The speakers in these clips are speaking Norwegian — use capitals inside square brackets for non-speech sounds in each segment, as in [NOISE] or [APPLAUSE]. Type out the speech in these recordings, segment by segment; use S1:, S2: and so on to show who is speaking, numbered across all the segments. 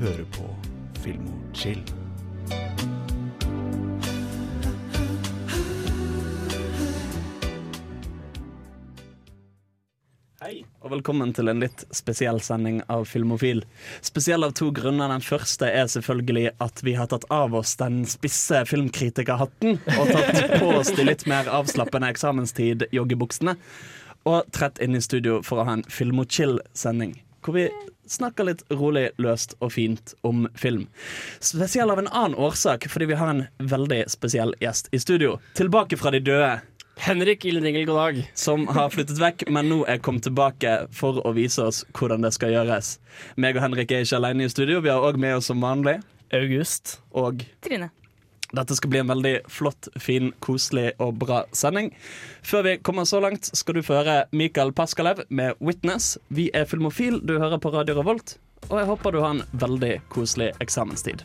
S1: hører på Filmorchill.
S2: Hei, og velkommen til en litt spesiell sending av Filmofil. Spesiell av to grunner. Den første er selvfølgelig at vi har tatt av oss den spisse filmkritikerhatten og tatt på oss de litt mer avslappende eksamenstid-joggebuksene. Og trett inn i studio for å ha en Film og chill-sending. Hvor vi snakker litt rolig, løst og fint om film. Spesiell av en annen årsak, fordi vi har en veldig spesiell gjest i studio. Tilbake fra de døde.
S3: Henrik Ildringel, god dag.
S2: som har flyttet vekk, men nå er kommet tilbake for å vise oss hvordan det skal gjøres. Meg og Henrik er ikke alene i studio, vi har òg med oss som vanlig.
S3: August.
S2: Og
S4: Trine.
S2: dette skal bli en veldig flott, fin, koselig og bra sending. Før vi kommer så langt, skal du få høre Mikael Paskalev med 'Witness'. Vi er Filmofil, du hører på Radio Revolt, og jeg håper du har en veldig koselig eksamenstid.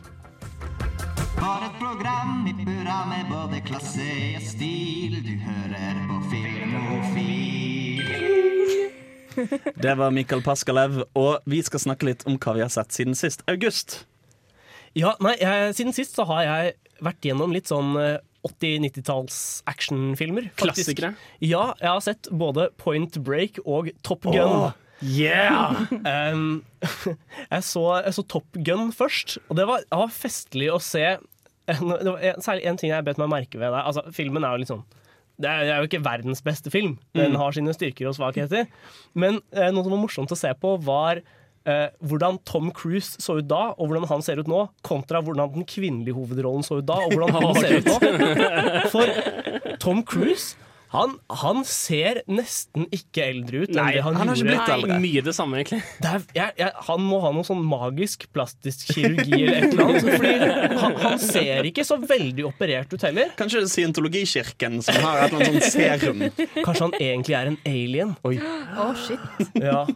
S5: Har et program i burra med både klasse og stil. Du hører på Filmofil.
S2: Det var Mikael Paskalev, og vi skal snakke litt om hva vi har sett siden sist. August.
S3: Ja, nei, jeg, Siden sist så har jeg vært gjennom litt sånn eh, 80-90-talls actionfilmer. faktisk.
S2: Klassikere.
S3: Ja, jeg har sett både Point Break og Top Gun. [LAUGHS]
S2: Yeah!
S3: Um, jeg, så, jeg så Top Gun først, og det var, det var festlig å se. Det var en- særlig en ting jeg bet meg merke ved der. Altså, filmen er jo litt sånn det er, det er jo ikke verdens beste film. Den har sine styrker og svakheter. Men eh, noe som var morsomt å se på, var eh, hvordan Tom Cruise så ut da, og hvordan han ser ut nå, kontra hvordan den kvinnelige hovedrollen så ut da, og hvordan han ser ut nå. For Tom Cruise han, han ser nesten ikke eldre ut enn det han,
S2: han har ikke
S3: gjorde
S2: blitt eldre.
S6: Mye det samme, egentlig.
S3: det er, jeg, jeg, han må ha noe sånn magisk plastisk kirurgi eller et eller annet. Fordi han, han ser ikke så veldig operert ut heller.
S2: Kanskje det er scientologikirken som har et eller annet sånt serum.
S3: Kanskje han egentlig er en alien.
S4: Å, shit.
S3: Ja.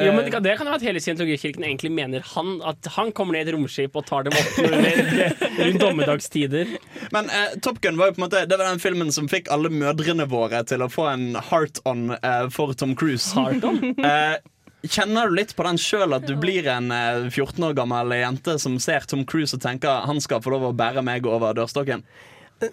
S6: Jo, men Det kan det kan jo være at hele scientologikirken egentlig mener han at han kommer ned i et romskip og tar dem opp under- rundt dommedagstider.
S2: Men eh, Top Gun var jo på en måte Det var den filmen som fikk alle mødrene våre til å få en heart-on eh, for Tom Cruise. Eh, kjenner du litt på den sjøl, at du blir en eh, 14 år gammel jente som ser Tom Cruise og tenker han skal få lov å bære meg over dørstokken?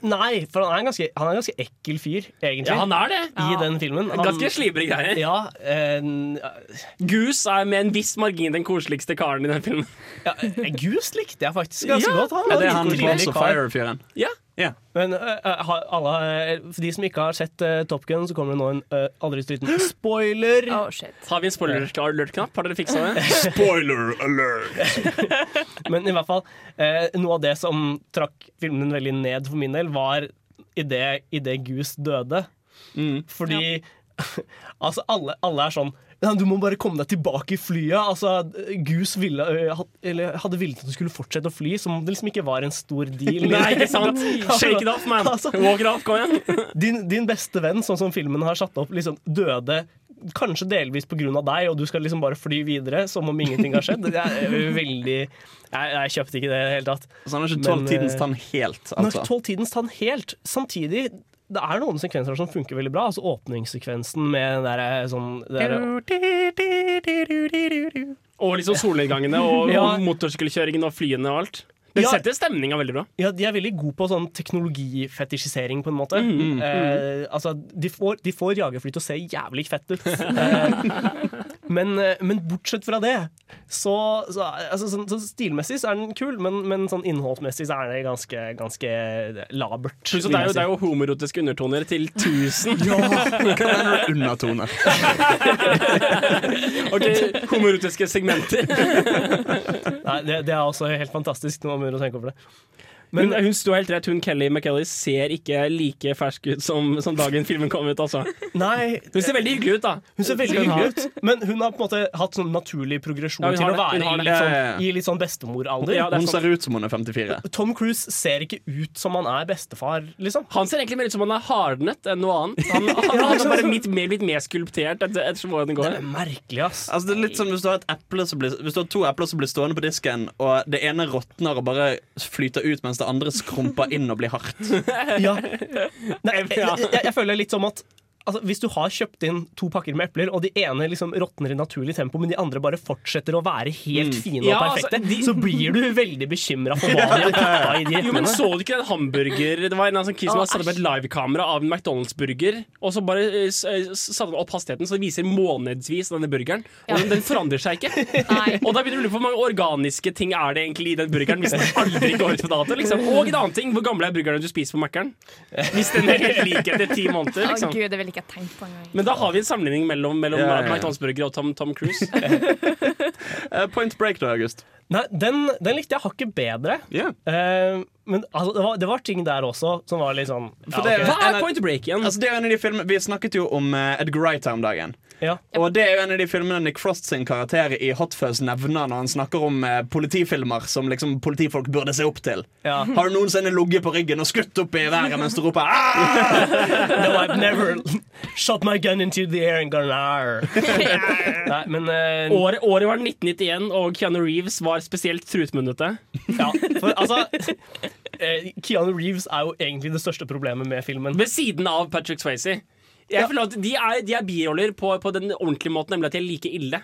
S3: Nei, for han er en ganske, han er en ganske ekkel fyr, egentlig,
S6: Ja, han er det.
S3: i den filmen. Han-
S6: Ganske slibrige greier.
S3: ja, en-
S6: Goose er med en viss margin den koseligste karen i den filmen.
S3: ja, Goose likte jeg faktisk ganske
S6: Ja,
S3: godt. Han
S2: Er
S3: var
S2: det
S3: en
S2: han
S3: hyggelig
S2: Balls of
S3: kar.
S2: Fire-fyren?
S6: Ja,
S2: Ja.
S3: Men eh, eh, ha- alle, eh, for de som ikke har sett eh, Top Gun, så kommer det nå en eh, aldri så liten spoiler.
S4: Å, shit.
S6: Har vi en spoiler-alert-knapp? Har dere fiksa det?
S3: [LAUGHS]
S2: Spoiler alert!
S3: Men i hvert fall, eh, noe av det som trakk filmen veldig ned for min del, var idet det Goose døde.
S6: Mm.
S3: Fordi [LAUGHS] altså alle, alle er sånn «Nei, du må bare komme deg tilbake i flyet. Altså, Goose ville, ø, hatt- eller hadde villet at du skulle fortsette å fly, som om det liksom ikke var en stor deal.
S6: Nei, ikke sant? Shake it off, man.
S3: [LAUGHS] Altså-
S6: Walk it off, kom igjen.
S3: din, din beste venn, sånn som filmen har satt opp, liksom døde kanskje delvis pga. deg, og du skal liksom bare fly videre som om ingenting har skjedd. Det er ø, veldig Jeg, jeg kjøpte ikke det i det hele tatt.
S2: Så han har ikke
S3: Men,
S2: tålt tidens
S3: eh,
S2: tann helt,
S3: Nå har
S2: altså.
S3: ikke tålt tidens tann helt. Samtidig, det er noen sekvenser som funker veldig bra. Altså åpningssekvensen med den der sånn det der,
S6: Og liksom solnedgangene og,
S3: Ja.
S6: og motorsykkelkjøringen og flyene og alt. Det
S3: Ja.
S6: setter stemninga veldig bra.
S3: ja, De er veldig gode på sånn teknologifetisjisering, på en måte.
S6: Mm,
S3: eh, altså, de får, de får jagerfly til å se jævlig fett
S6: [LAUGHS]
S3: ut. Eh, men, eh, men bortsett fra det, så, så altså, sånn, sånn Stilmessig så er den kul, men, men sånn innholdsmessig så er det ganske, ganske labert.
S6: Pluss at det
S3: vil jeg
S6: er jo,
S3: si.
S6: det er jo homoerotiske undertoner til 1000.
S2: Hva er det undertoner?
S6: Ok, homoerotiske segmenter.
S3: Nei, det, det er også helt fantastisk når man begynner å tenke over det.
S6: Men hun sto helt rett, hun Kelly McKelly ser ikke like fersk ut som, som dagen filmen kom ut. altså
S3: Nei,
S6: Hun ser veldig hyggelig ut, da.
S3: Hun ser veldig hyggelig ut, men hun har på en måte hatt sånn naturlig progresjon
S6: Ja, hun
S3: til
S6: har
S3: å
S6: det. Hun
S3: være
S6: har
S3: i
S6: det.
S3: litt
S2: Ja, ja, ja.
S3: sånn, i litt sånn bestemoralder.
S6: Ja, det er
S2: Hun
S6: sant.
S2: ser ut som hun er 54.
S3: Tom Cruise ser ikke ut som han er bestefar, liksom.
S6: Han ser egentlig mer ut som han er hardnet enn noe annet. Han, han, han er bare litt mer, litt mer skulptert etter, etter hvordan det
S3: Det
S6: går.
S3: er merkelig, ass.
S6: [LAUGHS]
S2: Altså det er litt som hvis du har, et eple som blir, hvis du har to epler som blir stående på disken, og det ene råtner og bare flyter ut, mens det
S3: [LAUGHS]
S2: andre skrumper inn og blir hardt.
S6: [LAUGHS]
S3: Ja. Nei, jeg, jeg, jeg føler litt som at altså, hvis du har kjøpt inn to pakker med epler, og de ene liksom råtner i naturlig tempo, men de andre bare fortsetter å være helt fine og
S6: Ja, altså,
S3: perfekte,
S6: de-
S3: så blir du veldig bekymra for hva de har putta i
S6: [LAUGHS]
S3: de
S6: Jo, men
S3: eplene.
S6: Så du ikke den hamburger Det var en eller annen sånn kis som hadde satt opp et livekamera av en McDonald's-burger, og så bare eh, s- eh, satte han opp hastigheten, så det viser månedsvis denne burgeren. Og den, den forandrer seg ikke.
S4: Nei.
S6: Og da begynner du å lure på hvor mange organiske ting er det egentlig i den burgeren. Hvis den aldri går ut på dato liksom. Og en annen ting, hvor gammel er burgeren du spiser på Mækkern? Hvis den er helt lik etter ti måneder.
S4: Å
S6: Liksom.
S4: gud, det ville ikke jeg tenkt på engang.
S6: Men da har vi en sammenligning mellom, mellom
S2: Ja, ja, ja.
S6: McDonald's-burger og Tom, Tom Cruise.
S2: Eh, point break, da, August.
S3: Nei, den, den likte jeg hakket bedre.
S2: Ja.
S3: Eh, men altså, det, var, det var ting der også som var litt sånn ja,
S2: For det-
S3: ok.
S6: Hva
S2: En-
S6: er point break igjen?
S2: Altså, det er jo en av de filmene Vi snakket jo om eh, Edgar Wright her om dagen.
S3: ja.
S2: Og det er jo en av de filmene Nick Frost sin karakter i Hot Fuzz nevner når han snakker om eh, politifilmer som liksom politifolk burde se opp til.
S3: Ja.
S2: [LAUGHS] Har du noensinne ligget på ryggen og skutt opp i været mens du roper «Ah!»
S3: [LAUGHS] No, I've never shot my gun into the air and gone "Arr." Nei, men eh,
S6: Året, året var 1991, og Keanu Reeves var spesielt trutmunnete.
S3: ja, for, altså, eh, Keanu Reeves er jo egentlig det største problemet med filmen.
S6: Ved siden av Patrick Swayze. Jeg føler at De er, de er biroller på, på den ordentlige måten, nemlig at de er like ille.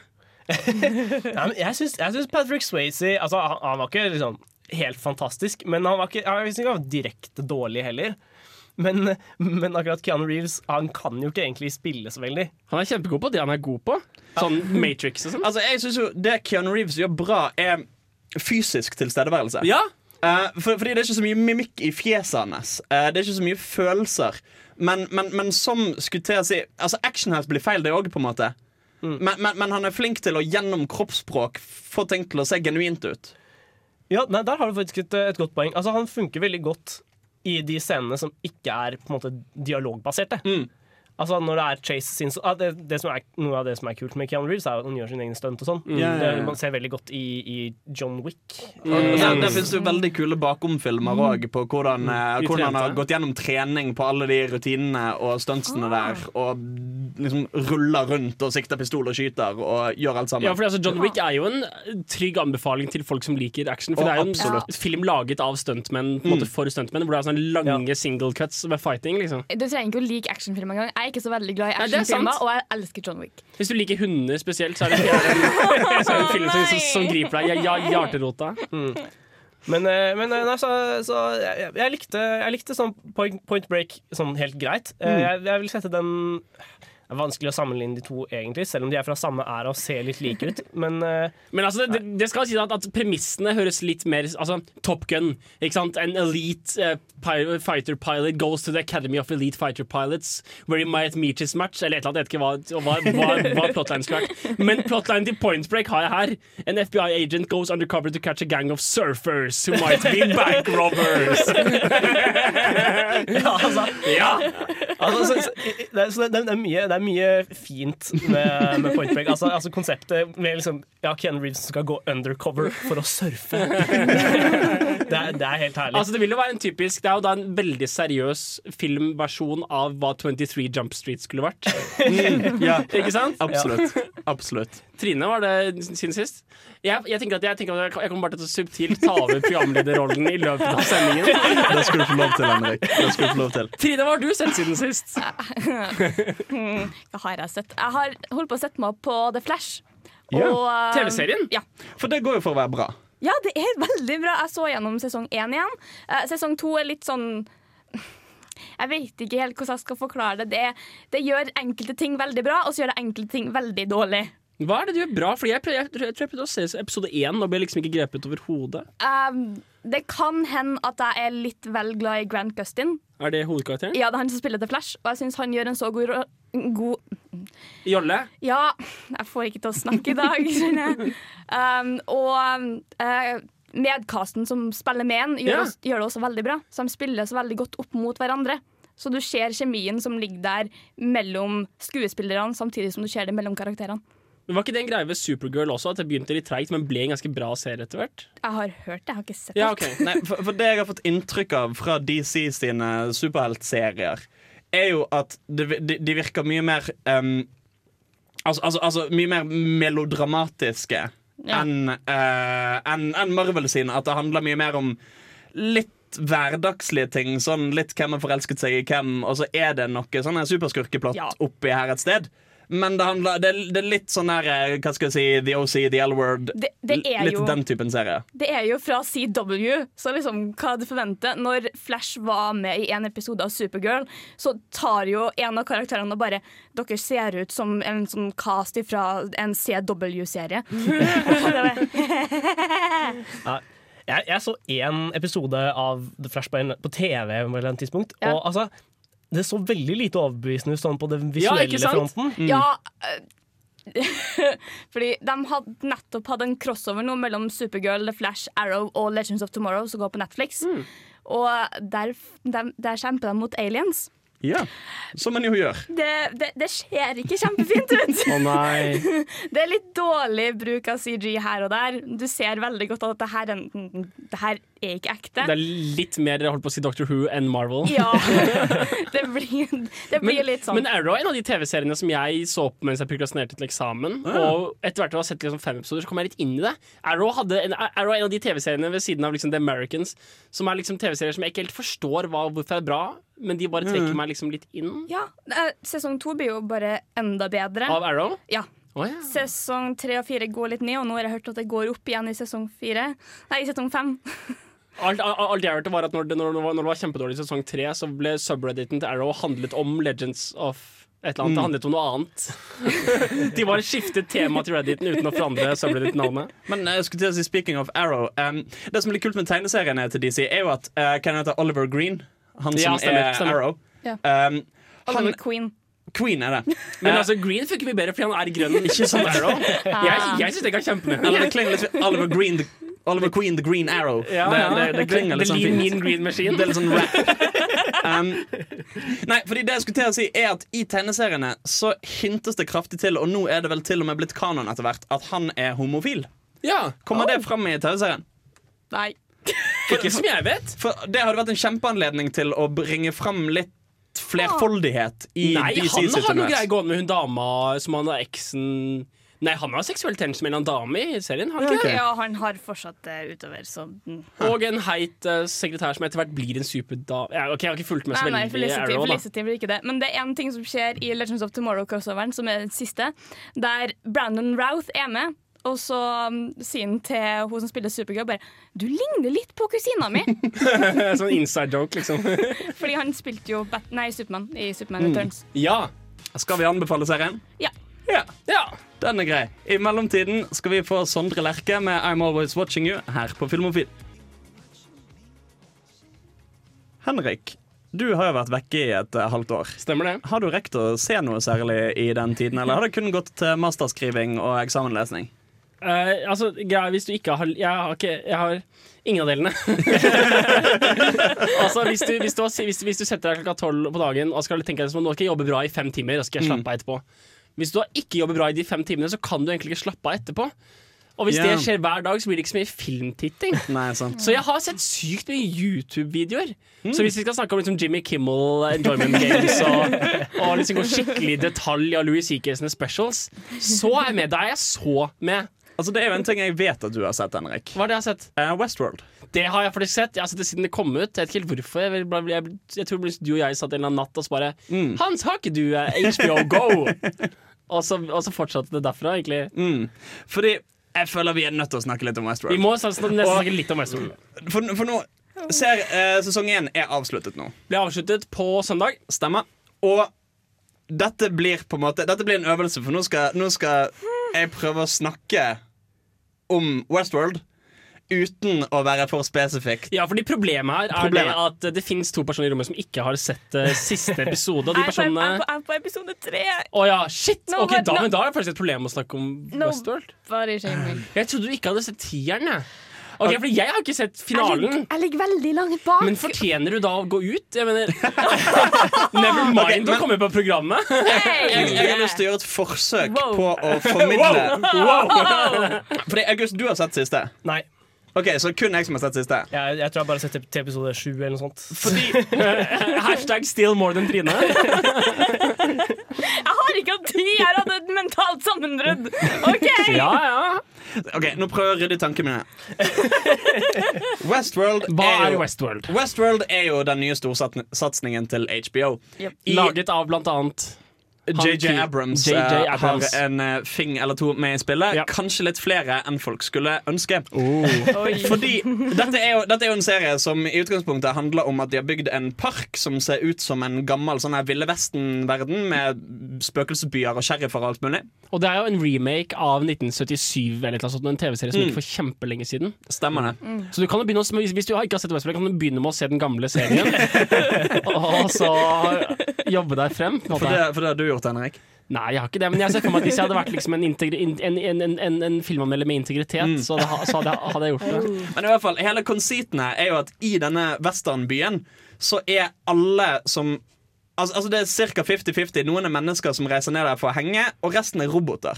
S3: Nei, men jeg syns, jeg syns Patrick Swayze altså, han, han var ikke liksom, helt fantastisk, men han var ikke, han var ikke han var direkte dårlig heller. Men, men akkurat Keanu Reeves Han kan jo ikke egentlig spille så veldig.
S6: Han er kjempegod på det han er god på. Sånn Matrix og sånn.
S2: Altså, jeg synes jo Det Keanu Reeves gjør bra, er fysisk tilstedeværelse.
S6: Ja,
S2: Eh, for, fordi det er ikke så mye mimikk i fjeset hans. Eh, det er ikke så mye følelser. Men, men, men som skulle til å si Altså, actionhelt blir feil, det òg, på en måte. Men, men, men han er flink til å gjennom kroppsspråk få ting til å se genuint ut.
S3: Ja, nei, Der har du faktisk et, et godt poeng. Altså, Han funker veldig godt i de scenene som ikke er på en måte dialogbaserte.
S2: Mm.
S3: Altså når det er chase scenes ah, det, det som er, Noe av det som er kult med Keanu Reeves, er at han gjør sine egne stunt og sånn.
S2: Mm. Ja, ja, ja.
S3: Det Man ser veldig godt i, i John Wick.
S2: Der, der finnes det jo veldig kule bakomfilmer òg, på hvordan, eh,
S6: De
S2: hvordan han har
S6: trente.
S2: gått gjennom trening på alle de rutinene og stuntsene der, og liksom ruller rundt og sikter pistol og skyter og gjør alt sammen.
S6: ja for altså John Wick er jo en eh, trygg anbefaling til folk som liker action. For
S2: Å,
S6: det er jo en
S4: absolutt.
S6: film laget av stuntmenn på en måte for stuntmenn, hvor det er sånne lange single cuts med fighting. liksom
S4: Du trenger ikke å like actionfilm engang. Jeg er ikke så veldig glad i
S6: Nei, det er sant.
S4: actionfilmer, og jeg elsker John Wick.
S6: Hvis du liker hunder spesielt, så er det [LAUGHS] så er det en film som, som, som griper deg i ja, ja, hjerterota.
S3: Men, eh, men eh, nei, så, så jeg, jeg, likte, jeg likte sånn point, point break sånn helt greit. Eh,
S2: Mm.
S3: Jeg, jeg vil sette den det er vanskelig å sammenligne de to, egentlig, selv om de er fra samme æra og ser litt like ut. Men eh,
S6: Men altså, det, det skal sies at, at premissene høres litt mer altså, Top Gun. ikke sant? An elite eh, pi- fighter pilot goes to the Academy of Elite Fighter Pilots where he might meet his match. Eller et eller annet. Jeg vet ikke hva, hva, hva, hva plotline skulle vært. Men plotline til Point Break har jeg her. An FBI agent goes undercover to catch a gang of surfers who might be bank robbers.
S3: ja, [LAUGHS] altså,
S6: Ja!
S3: Altså, så, så, det, er, så det, det, er mye, det er mye fint med, med Point Break. Altså, altså konseptet med liksom, ja, Ken Reeves skal gå undercover for å
S6: [LAUGHS]
S3: surfe. Det er, det er helt herlig.
S6: [LAUGHS] Altså Det vil jo være en typisk Det er jo da en veldig seriøs filmversjon av hva 23 Jump Street skulle vært.
S2: Mm, ja,
S6: [LAUGHS] Ikke sant?
S2: absolutt. Absolutt.
S6: Trine var det siden sist. Jeg, jeg tenker at jeg, tenker at jeg- jeg kommer bare til å subtilt ta over programlederrollen i løpet av sendingen.
S2: Det skal du få lov til, Henrik. Det skal du få lov til.
S6: Trine, hva har du sett siden sist?
S4: Hva har jeg sett? Jeg har holdt på å sette meg opp på The Flash.
S2: Ja.
S4: Og, eh,
S6: TV-serien?
S4: Ja.
S2: For det går jo for å være bra.
S4: ja, det er veldig bra. Jeg så gjennom sesong én igjen. Eh, Sesong to er litt sånn jeg vet ikke helt hvordan jeg skal forklare det. det. Det gjør enkelte ting veldig bra, og så gjør det enkelte ting veldig dårlig.
S6: Hva er det du gjør bra? Fordi jeg, prøv, jeg, tror- jeg tror jeg prøvde å se episode én og ble liksom ikke grepet over hodet.
S4: Um, det kan hende at jeg er litt vel glad i Grant Gustin.
S6: Er det hovedkarakteren?
S4: Ja, det er han som spiller The Flash, og jeg syns han gjør en så god, ro- god
S6: Jolle?
S4: Ja, jeg får ikke til å snakke i dag, skjønner jeg. Um, og eh, medcasten som spiller med en, gjør,
S6: Ja.
S4: oss- gjør det også veldig bra. Så de spiller så veldig godt opp mot hverandre. Så du ser kjemien som ligger der mellom skuespillerne, samtidig som du ser det mellom karakterene.
S6: Men Var ikke det en greie ved Supergirl også, at det begynte litt treigt, men ble en ganske bra serie etter hvert?
S4: Jeg har hørt det, jeg har ikke sett det.
S6: Ja, ok
S2: Nei, for, for det jeg har fått inntrykk av fra DC sine superheltserier, er jo at det, vi- de, de virker mye mer em, altså, altså, altså mye mer melodramatiske enn eh, enn- enn Marvel sine. At det handler mye mer om litt litt hverdagslige ting. Sånn litt hvem har forelsket seg i hvem, og så er det noe sånn en superskurkeplott
S4: Ja.
S2: oppi her et sted. Men det, handler, det, er- det er litt sånn her eh, Hva skal jeg si, The OC, The L-Word.
S4: Det- det er
S2: litt
S4: jo-
S2: den typen serie.
S4: Det er jo fra CW, så liksom hva du forventer. Når Flash var med i en episode av Supergirl, så tar jo en av karakterene og bare Dere ser ut som en sånn cast fra en CW-serie.
S3: Jeg, jeg så én episode av The Flash på, en, på TV på et eller annet tidspunkt.
S4: Ja.
S3: Og altså, det så veldig lite overbevisende ut sånn på den
S6: Ja,
S3: visuelle
S6: ikke sant?
S3: fronten.
S4: Ja eh, [LAUGHS] Fordi de hadde nettopp hatt en crossover nå mellom Supergirl, The Flash, Arrow og Legends of Tomorrow, som går på Netflix. Og der, der, der kjemper de mot aliens.
S2: Ja, Som en jo gjør.
S4: Det, det, det ser ikke kjempefint ut.
S6: Å nei.
S4: Det er litt dårlig bruk av CG her og der. Du ser veldig godt at det her, er- det her er ikke ekte.
S6: Det er litt mer holdt på å si Doctor Who enn Marvel.
S4: Ja. [LAUGHS] Det blir, det blir litt sånn.
S6: men Arrow er en av de TV-seriene som jeg så på mens jeg prokrastinerte til eksamen. Og etter hvert å ha sett liksom fem episoder, så kom jeg litt inn i det. Arrow, hadde en, Arrow er en av de TV-seriene ved siden av liksom The Americans som er liksom TV-serier som jeg ikke helt forstår hva, hvorfor er bra, men de bare trekker meg liksom litt inn
S4: ja, eh, sesong to blir jo bare enda bedre.
S6: av Arrow.
S4: Ja.
S6: Å ja.
S4: Sesong tre og fire går litt ned, og nå har jeg hørt at det går opp igjen i sesong fire. Nei, i sesong fem.
S6: Alt, alt, alt jeg hørte var at når det, når, det var, når det var kjempedårlig i sesong tre, så ble subredditen til Arrow handlet om Legends of et eller annet. Det handlet om noe annet. [LAUGHS] De bare skiftet tema til redditen uten å forandre subreddit-navnet.
S2: Men eh, jeg skulle til å si speaking of Arrow em, Det som blir kult med tegneseriene til DC, er jo at eh, Hva heter Oliver Green? Han
S6: Ja,
S2: som
S6: stemmer,
S2: er
S6: stemmer.
S2: Arrow.
S4: Ja.
S2: Em, han,
S4: Oliver Queen.
S2: Queen er det.
S6: Men altså, Green funker mye bedre fordi han er grønn. Ikke [LAUGHS] som Arrow. Jeg, jeg syns det kan
S2: [LAUGHS]
S6: kjempe med.
S2: Eller det klinger litt Oliver Green the, Oliver Queen, The Green Arrow.
S6: Ja,
S2: det,
S6: ja.
S2: det, det klinger litt
S6: The
S2: sånn fint.
S6: lean, mean green machine.
S2: Det er litt sånn rap. Um, nei, fordi det jeg skulle til å si er at I tegneseriene så hintes det kraftig til, og nå er det vel til og med blitt kanon etter hvert, at han er homofil.
S6: Ja,
S2: Kommer
S6: Oh.
S2: det fram i TV-serien?
S4: Nei.
S6: Ikke som jeg vet.
S2: For Det hadde vært en kjempeanledning til å bringe fram litt flerfoldighet i
S6: Nei,
S2: DC
S6: han
S2: sitt
S6: har noe greier
S2: univers.
S6: gående med hun dama som han er eksen Nei, han har seksuell tension med en eller annen dame i serien. Har han ikke? det?
S4: Ja, han har fortsatt det utover, så mm.
S6: Og en heit eh, sekretær som etter hvert blir en superdame. Ja, ok, jeg har ikke fulgt med så
S4: Nei, nei,
S6: veldig i
S4: Felicity,
S6: Arrow, da.
S4: Felicity blir ikke det. Men det er én ting som skjer i Legends of Tomorrow-crossoveren, som er den siste, der Brandon Routh er med. Og så um, sier han til hun som spiller Supergirl, bare 'Du ligner litt på kusina mi'. [LAUGHS]
S6: Sånn inside joke, liksom.
S4: Fordi han spilte jo Bat nei, Supermann i Superman Returns.
S6: ja.
S2: Skal vi anbefale serien?
S4: Ja.
S2: Ja,
S6: ja.
S2: den er grei. I mellomtiden skal vi få Sondre Lerche med I'm Always Watching You her på Filmofil. Henrik, du har jo vært vekke i et eh, halvt år.
S6: Stemmer det.
S2: Har du rekt å se noe særlig i den tiden, eller har det kun gått til masterskriving og eksamenlesning?
S6: Eh, altså, greia, hvis du ikke har Jeg har, ikke, jeg har ingen av delene. altså, hvis du, hvis, du har, hvis, hvis du setter deg klokka tolv på dagen og skal tenke deg som, nå skal jeg jobbe bra i fem timer, og så skal jeg slappe av etterpå. Hvis du da ikke jobber bra i de fem timene, så kan du egentlig ikke slappe av etterpå. Og hvis
S2: Ja.
S6: det skjer hver dag, så blir det ikke så mye filmtitting.
S2: Nei, sant.
S6: Så jeg har sett sykt mye YouTube-videoer. Så hvis vi skal snakke om liksom Jimmy Kimmel, Enjoyment Games og, og liksom gå skikkelig i detalj av Louis C.K.s specials, så er jeg med. Da er jeg så med.
S2: Altså, det er jo en ting jeg vet at du har sett, Henrik.
S6: Hva er det jeg har sett?
S2: Eh, Westworld.
S6: Det har jeg faktisk sett. Jeg har sett det siden det kom ut. Jeg vet ikke helt hvorfor. Jeg, ble- ble- jeg, jeg tror det ble du og jeg satt en eller annen natt og så bare Hans, har ikke du eh, HBO [LAUGHS] Go? og, så, og så fortsatte det derfra, egentlig.
S2: Fordi jeg føler vi er nødt til å snakke litt om
S6: Vi
S2: Westworld.
S6: må snak- nesten snakke litt om Westworld.
S2: For, for nå ser eh, Sesong én er avsluttet nå.
S6: Ble avsluttet på søndag.
S2: Stemmer. Og dette blir på en måte Dette blir en øvelse, for nå skal, nå skal jeg prøve å snakke om Westworld uten å være for spesifikk.
S6: Ja, fordi problemet her er
S2: Problemet.
S6: det at det finnes to personer i rommet som ikke har sett eh, [LAUGHS] siste episode. Og de
S4: Jeg er
S6: personene
S4: på- jeg er på- jeg er på episode tre!
S6: Å ja, shit!
S4: No,
S6: ok,
S4: but
S6: da,
S4: no-
S6: men da er det faktisk et problem å snakke om
S4: No.
S6: Westworld.
S4: Bare shaming.
S6: Jeg trodde du ikke hadde sett tieren, jeg. Ok, fordi jeg har ikke sett finalen.
S4: veldig langt bak.
S6: Men fortjener du da å gå ut? Jeg
S2: [LAUGHS]
S6: mener Never mind
S2: Ok, men-
S6: å komme på programmet.
S2: Jeg, jeg har lyst til å gjøre et forsøk på å [LAUGHS] formidle Fordi August, du har sett siste.
S3: Nei,
S2: Ok, Så kun jeg som har sett siste.
S3: jeg, jeg tror jeg bare har sett til- til episode sju eller noe sånt.
S6: eh, Hashtag still more than
S3: [LAUGHS]
S6: Trine.
S4: Jeg har ikke hatt tid! Jeg har hatt et mentalt sammenbrudd. OK!
S6: Ja, ja.
S2: OK, nå prøver jeg å rydde i tankene mine. Westworld
S6: Hva
S2: er
S6: er
S2: jo,
S6: Westworld?
S2: Westworld er jo den nye storsatsingen til HBO.
S4: Yep.
S2: I-
S6: Laget av blant annet
S2: JJ
S6: Han-
S2: Abrams,
S6: J.J.
S2: eh,
S6: Abrams.
S2: har en eh, fing eller to med i spillet.
S6: Ja. Oh.
S2: Kanskje litt flere enn folk skulle ønske. Fordi dette er, jo, dette er jo en serie som i utgangspunktet handler om at de har bygd en park som ser ut som en gammel sånn her Ville Vesten-verden med spøkelsesbyer og sherifer og alt mulig.
S6: Og det er jo en remake av 1977, eller noe sånt, en TV-serie
S2: Mm.
S6: som gikk for kjempelenge siden.
S2: Stemmer det.
S6: Så du kan jo begynne å, hvis- Hvis du ikke har sett Westworld, kan du begynne med å se den
S2: [LAUGHS]
S6: gamle serien. og så jobbe deg frem. på en måte.
S2: For, det? for det har du gjort, Henrik.
S6: Nei, jeg har ikke det. Men jeg ser for meg at hvis jeg hadde vært liksom en, integri- in- en, en, en, en, en filmanmelder med
S2: Mm.
S6: integritet, så, hadde, ha- så hadde, jeg, hadde jeg gjort det.
S2: Men i hvert fall, hele konsiten her er jo at i denne westernbyen så er alle som Altså, altså det er ca. 50-50. Noen er mennesker som reiser ned der for å henge, og resten er roboter.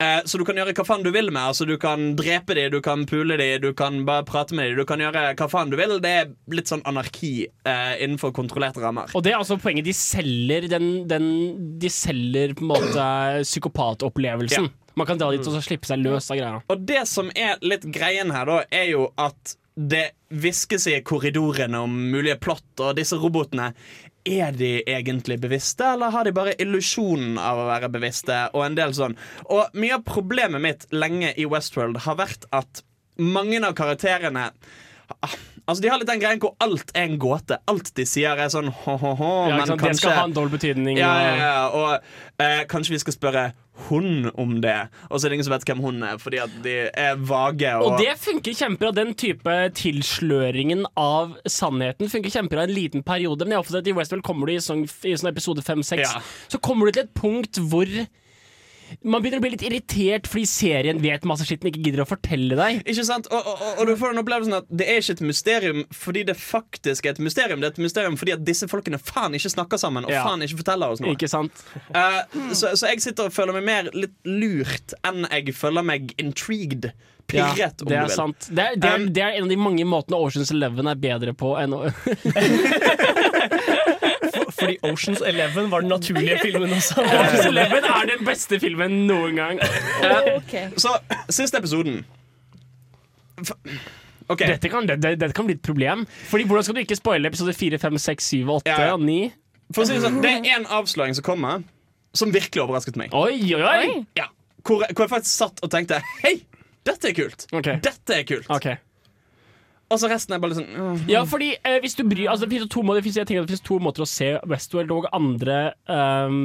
S2: Eh, så du kan gjøre hva faen du vil med. Altså Du kan drepe dem, du kan pule dem, du kan bare prate med dem. Du kan gjøre hva faen du vil. Det er litt sånn anarki eh, innenfor kontrollerte rammer.
S6: Og det er altså poenget. De selger den, den De selger på en måte psykopatopplevelsen. Man kan dra dit og så slippe seg løs av greia.
S2: Mm. Og det som er litt greien her, da, er jo at det hviskes i korridorene om mulige plott og disse robotene. Er de egentlig bevisste, eller har de bare illusjonen av å være bevisste? Og en del sånn Og mye av problemet mitt lenge i Westworld har vært at mange av karakterene ah, Altså De har litt den greien hvor alt er en gåte. Alt de sier, er sånn hå-hå-hå,
S6: Ja, ikke
S2: men
S6: sant?
S2: kanskje
S6: Det skal ha en dårlig betydning.
S2: ja, ja,
S6: og-
S2: ja. Og eh, kanskje vi skal spørre hun om det. Og så er det ingen som vet hvem hun er, fordi at de er vage. Og,
S6: Og det funker kjempebra. Den type tilsløringen av sannheten funker kjempebra en liten periode. Men jeg oppfatter at i Westworld kommer du i sånn, i sånn episode 5-6
S2: Ja.
S6: Så kommer du til et punkt hvor man begynner å bli litt irritert fordi serien vet masse skitt den ikke gidder å fortelle deg.
S2: Ikke sant? Og, og, og- og du får den opplevelsen at det er ikke et mysterium fordi det faktisk er et mysterium. Det er et mysterium fordi at disse folkene faen ikke snakker sammen og
S6: Ja.
S2: faen ikke forteller oss noe.
S6: Ikke sant?
S2: Eh, så, så jeg sitter og føler meg mer litt lurt enn jeg føler meg intrigued.
S6: Ja,
S2: Pirret, om
S6: det
S2: du
S6: er
S2: vil.
S6: sant. Det er, det, er,
S2: Um,
S6: det er en av de mange måtene Oceans Eleven er bedre på enn å
S2: [LAUGHS]
S3: Fordi Oceans Eleven var den naturlige filmen også.
S6: Oceans Eleven er den beste filmen noen gang.
S2: Så siste episoden. F- OK.
S6: Dette kan, det, dette kan bli et problem. Fordi Hvordan skal du ikke spoile episode 4, 5, 6, 7, 8
S2: Ja, ja.
S6: og 9?
S2: For å si Det sånn, det er én avsløring som kommer, som virkelig overrasket meg.
S6: Oi, oi, oi!
S4: Oi.
S2: Ja, hvor, hvor jeg faktisk satt og tenkte Hei, dette er kult!
S6: Ok.
S2: Dette er kult
S6: Ok.
S2: Og så resten er bare litt sånn «Åh».
S6: Ja, fordi eh, hvis du bryr altså, det finnes jo to måter, det finnes, Jeg tenker at det finnes to måter å se Westworld og andre ehm,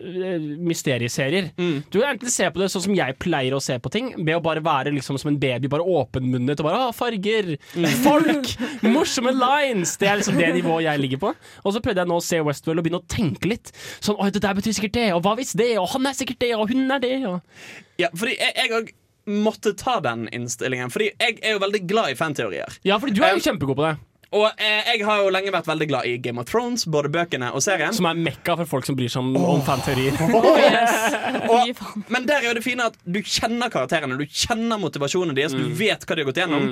S6: eh, mysterieserier. Du kan enten se på det sånn som jeg pleier å se på ting, ved å bare være liksom som en baby, bare åpenmunnet og bare ah, farger, folk, morsomme lines! Det er liksom det nivået jeg ligger på. Og så prøvde jeg nå å se Westworld og begynne å tenke litt. Sånn oi, det der betyr sikkert det, og hva hvis det, og han er sikkert det, og hun er det, og
S2: Ja, fordi jeg, jeg og måtte ta den innstillingen Fordi jeg er jo veldig glad i fanteorier
S6: Ja, fordi du er jo
S2: Eh,
S6: kjempegod på det.
S2: Og eh, jeg har jo lenge vært veldig glad i Game of Thrones Både bøkene og serien
S6: Som er mekka for folk som bryr seg om, om fanteorier.
S4: Fy faen.
S2: Men der er jo det fine at du kjenner karakterene Du kjenner motivasjonen deres
S6: Mm.
S2: Du vet hva de har gått gjennom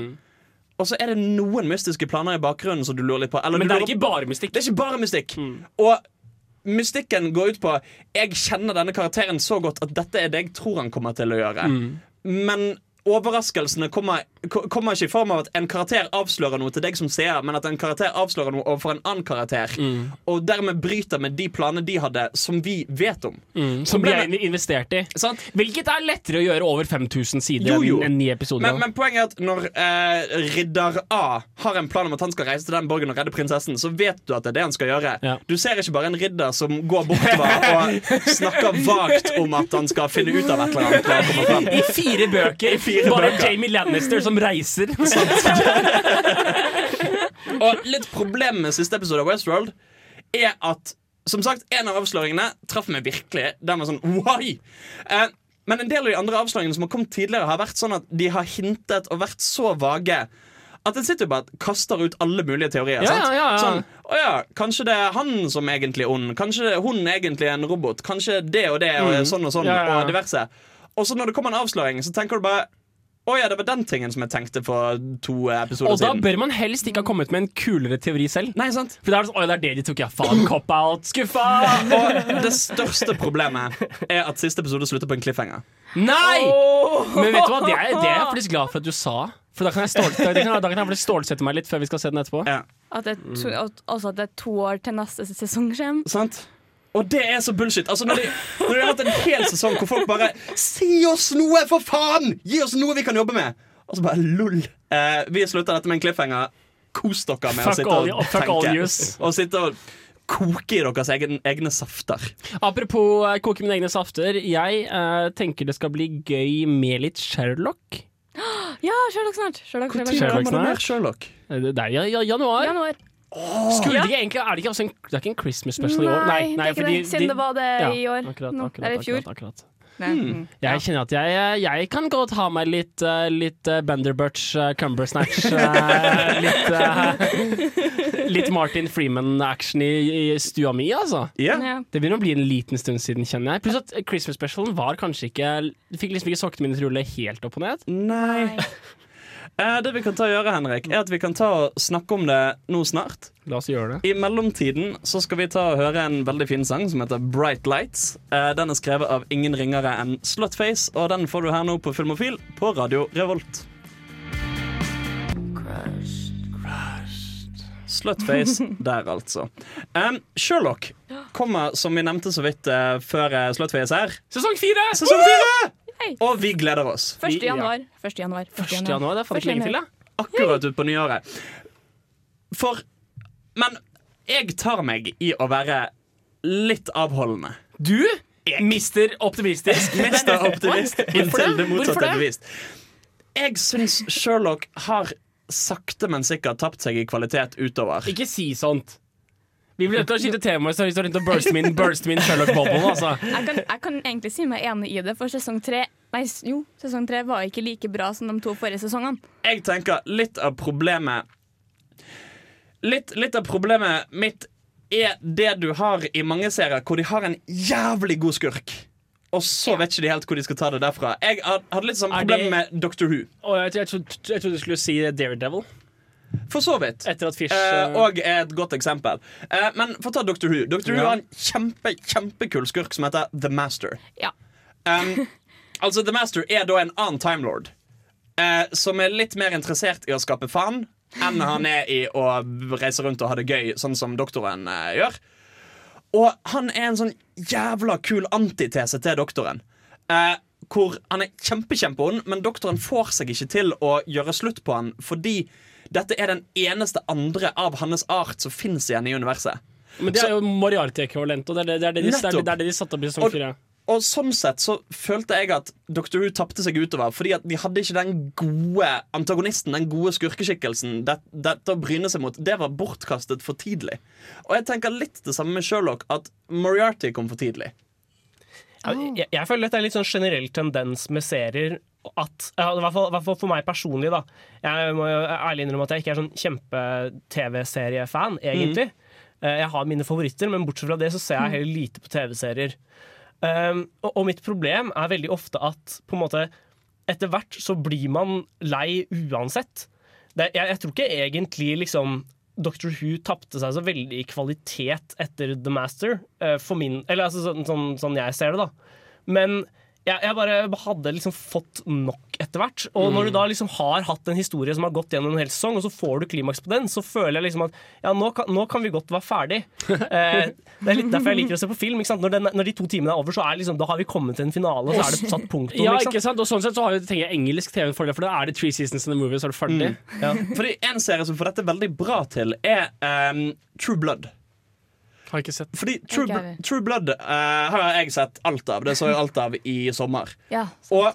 S2: Og så er det noen mystiske planer i bakgrunnen Som du lurer litt på eller
S6: Men
S2: du
S6: det er
S2: lurer
S6: ikke bare mystikk. Mm.
S2: Det er ikke bare mystikk. Og mystikken går ut på Jeg kjenner denne karakteren så godt at dette er det jeg tror han kommer til å gjøre.
S6: Mm.
S2: Men overraskelsene kommer, ko- kommer ikke i form av at en karakter avslører noe til deg som seer, men at en karakter avslører noe overfor en annen karakter.
S6: Mm.
S2: Og dermed bryter med de planene de hadde, som vi vet om.
S6: Som vi har
S2: Problemet-
S6: investert i.
S2: Sant?
S6: Hvilket er lettere å gjøre over 5000 sider
S2: Jo, jo.
S6: enn en ni episoder.
S2: Men, men poenget er at når eh, ridder A har en plan om at han skal reise til den borgen og redde prinsessen, så vet du at det er det han skal gjøre.
S6: Ja.
S2: Du ser ikke bare en ridder som går bortover og snakker vagt om at han skal finne ut av et eller annet. når han kommer fram.
S6: [LAUGHS] I fire bøker. bare Jamie Lannister som [LAUGHS] reiser.
S2: Og litt problem med siste episode av Westworld er at som sagt, en av avsløringene traff meg virkelig. Den var sånn why? Eh, men en del av de andre avsløringene som har kommet tidligere, har vært sånn at de har hintet og vært så vage. At en sitter jo bare og kaster ut alle mulige teorier.
S6: Ja,
S2: sant?
S6: ja, ja.
S2: Sånn, å ja, Kanskje det er han som egentlig er ond. Kanskje det- hun er egentlig en robot. Kanskje det og det og sånn og sånn
S6: Mm. Ja, ja, ja.
S2: og diverse. Og så når det kommer en avsløring, så tenker du bare Å ja, det var den tingen som jeg tenkte for to episoder
S6: Og da
S2: siden.
S6: bør man helst ikke ha kommet med en kulere teori selv.
S2: Nei, sant?
S6: For da er det sånn, oi, det er det de tok, ja. [CLEARS THROAT] Faen, cop-out. Skuffa!
S2: Og det største problemet er at siste episode slutter på en cliffhanger.
S6: Nei! Men vet du hva, det er, det [LAUGHS] er jeg faktisk glad for at du sa. For da kan jeg, stål, da kan, jeg- da kan jeg faktisk stålsette meg litt før vi skal se den etterpå.
S2: Ja,
S4: At det, er
S6: Mm.
S4: to, at, også at det er to år til neste sesong kommer.
S2: sant? Og det er så bullshit. Altså Når de, når de har hatt en hel sesong hvor folk bare Si oss noe, for faen! Gi oss noe vi kan jobbe med! Og så bare lol. Eh, vi slutter dette med en cliffhanger. Kos dere med
S6: Fuck
S2: å sitte
S6: all
S2: og
S6: you- fuck
S2: tenke.
S6: all yous.
S2: Og sitte og koke i deres egen, egne safter.
S6: Apropos eh, koke mine egne safter. Jeg eh, tenker det skal bli gøy med litt Sherlock.
S4: Ja, Sherlock snart! Sherlock, Sherlock,
S6: Sherlock
S4: Sherlock.
S2: Kommer det
S6: snart?
S2: mer Sherlock?
S6: Eh, Det er ja, ja, januar.
S4: Januar.
S6: Skulle
S4: Ja.
S6: det ikke egentlig Er det ikke, også en, det er ikke en Christmas special i år?
S4: Nei, det er ikke
S6: fordi
S4: det. Siden
S6: de-
S4: det var det
S6: ja,
S4: i år.
S6: Akkurat,
S4: Nå,
S6: akkurat,
S4: Eller i fjor. Mm.
S6: akkurat, akkurat.
S4: Nei.
S6: Jeg kjenner at jeg, jeg kan godt ha meg litt, eh, litt eh, Benderbutch, eh, Cumbersnatch
S4: [LAUGHS]
S6: eh, Litt eh, Litt Martin Freeman-action i, i stua mi, altså.
S2: Ja.
S4: Ja.
S6: Det begynner å bli en liten stund siden, kjenner jeg. Pluss at Christmas specialen var kanskje ikke det Fikk liksom ikke sokkene mine til å rulle helt opp og ned.
S2: Nei. Eh, det vi kan ta og gjøre, Henrik, er at vi kan ta og snakke om det nå snart.
S6: La oss gjøre det.
S2: I mellomtiden så skal vi ta og høre en veldig fin sang som heter Bright Lights. Eh, Den er skrevet av ingen ringere enn Slutface, og den får du her nå på Filmofil på Radio Revolt. Slutface der, altså. Em, Sherlock kommer, som vi nevnte så vidt eh, før eh, Slutface her,
S6: Sesong fire!
S2: sesong fire!
S4: Hei.
S2: Og vi gleder oss.
S4: 1.
S6: Ja.
S4: januar. 1. januar. 1.
S6: Første januar, det er faen ikke lenge til, da.
S2: akkurat ut på nyåret. For Men jeg tar meg i å være litt avholdende.
S6: Du mister optimistisk.
S4: [LAUGHS]
S2: Mest av optimist inntil det
S6: Hvorfor
S2: motsatte
S6: det?
S2: er bevist. Jeg syns Sherlock har sakte, men sikkert tapt seg i kvalitet utover.
S6: Ikke si sånt. Vi blir nødt til å skifte temaer, så vi står rundt og burster min, burster min Sherlock Bobble. Altså. [LAUGHS]
S4: Jeg kan, jeg kan egentlig si meg enig i det, for sesong tre Nei, s- jo, sesong tre var ikke like bra som de to forrige sesongene.
S2: Jeg tenker litt av problemet Litt, litt av problemet mitt er det du har i mange serier hvor de har en jævlig god skurk. Og så vet ikke de helt hvor de skal ta det derfra. Jeg had- hadde litt sånn
S6: Er
S2: problem
S6: det-
S2: med Doctor Who.
S6: Og jeg, jeg, trodde, jeg trodde du skulle si Daredevil
S2: For så vidt.
S6: etter at Fish
S2: Eh,
S6: eh,
S2: og er et godt eksempel. Eh, men få ta Dr. Who. Dr. Who
S6: Ja.
S2: har en kjempe, kjempekul skurk som heter The Master.
S4: Ja.
S2: Um, altså, The Master er da en annen timelord eh, som er litt mer interessert i å skape faen enn han er i å reise rundt og ha det gøy, sånn som doktoren eh, gjør. Og han er en sånn jævla kul antitese til doktoren. Eh, hvor han er kjempe-kjempeond, men doktoren får seg ikke til å gjøre slutt på han fordi dette er den eneste andre av hans art som fins igjen i universet.
S6: Men det er jo Moriarty-ekvivalent, og det er det, det, er det, de, det, er
S2: Nettopp.
S6: det, det er det de satte opp i sesong
S2: Og-
S6: fire.
S2: Og sånn sett så følte jeg at Dr. Who tapte seg utover, fordi at de hadde ikke den gode antagonisten, den gode skurkeskikkelsen. Det- Dette å bryne seg mot, det var bortkastet for tidlig. Og jeg tenker litt det samme med Sherlock, at Moriarty kom for tidlig.
S3: Ja, Jeg, jeg føler at det er litt sånn generell tendens med serier at ja, I hvert fall, i hvert fall for meg personlig, da. Jeg må jo ærlig innrømme at jeg ikke er sånn kjempe-TV-seriefan, egentlig. Eh, Jeg har mine favoritter, men bortsett fra det så ser jeg heller lite på TV-serier. Um, og, og mitt problem er veldig ofte at på en måte etter hvert så blir man lei uansett. Det, jeg, jeg tror ikke egentlig liksom Dr. Who tapte seg så veldig i kvalitet etter The Master, eh, for min Eller altså, sånn, sånn, sånn jeg ser det, da. Men jeg, jeg bare hadde liksom fått nok etter hvert. Og når du da liksom har hatt en historie som har gått gjennom en hel sesong, og så får du klimaks på den, så føler jeg liksom at ja, nå kan, nå kan vi godt være ferdig. Eh, det er litt derfor jeg liker å se på film. Ikke sant? Når, den, når de to timene er over, så er det liksom, da har vi kommet til en finale, og så er det satt punktum.
S6: Ja,
S3: ikke sant?
S6: ikke sant? Og sånn sett så har jo, tenker jeg engelsk TV for det, for da er det three seasons in the movie, så er det ferdig.
S2: Fordi en serie som får dette veldig bra til, er ehm, True Blood.
S6: Har ikke [LAUGHS] sett.
S2: Fordi True,
S4: Ikke jeg
S2: Bl-
S4: heller.
S2: True Blood eh, har jeg sett alt av. Det så jeg alt av i sommer.
S4: Ja.
S2: Og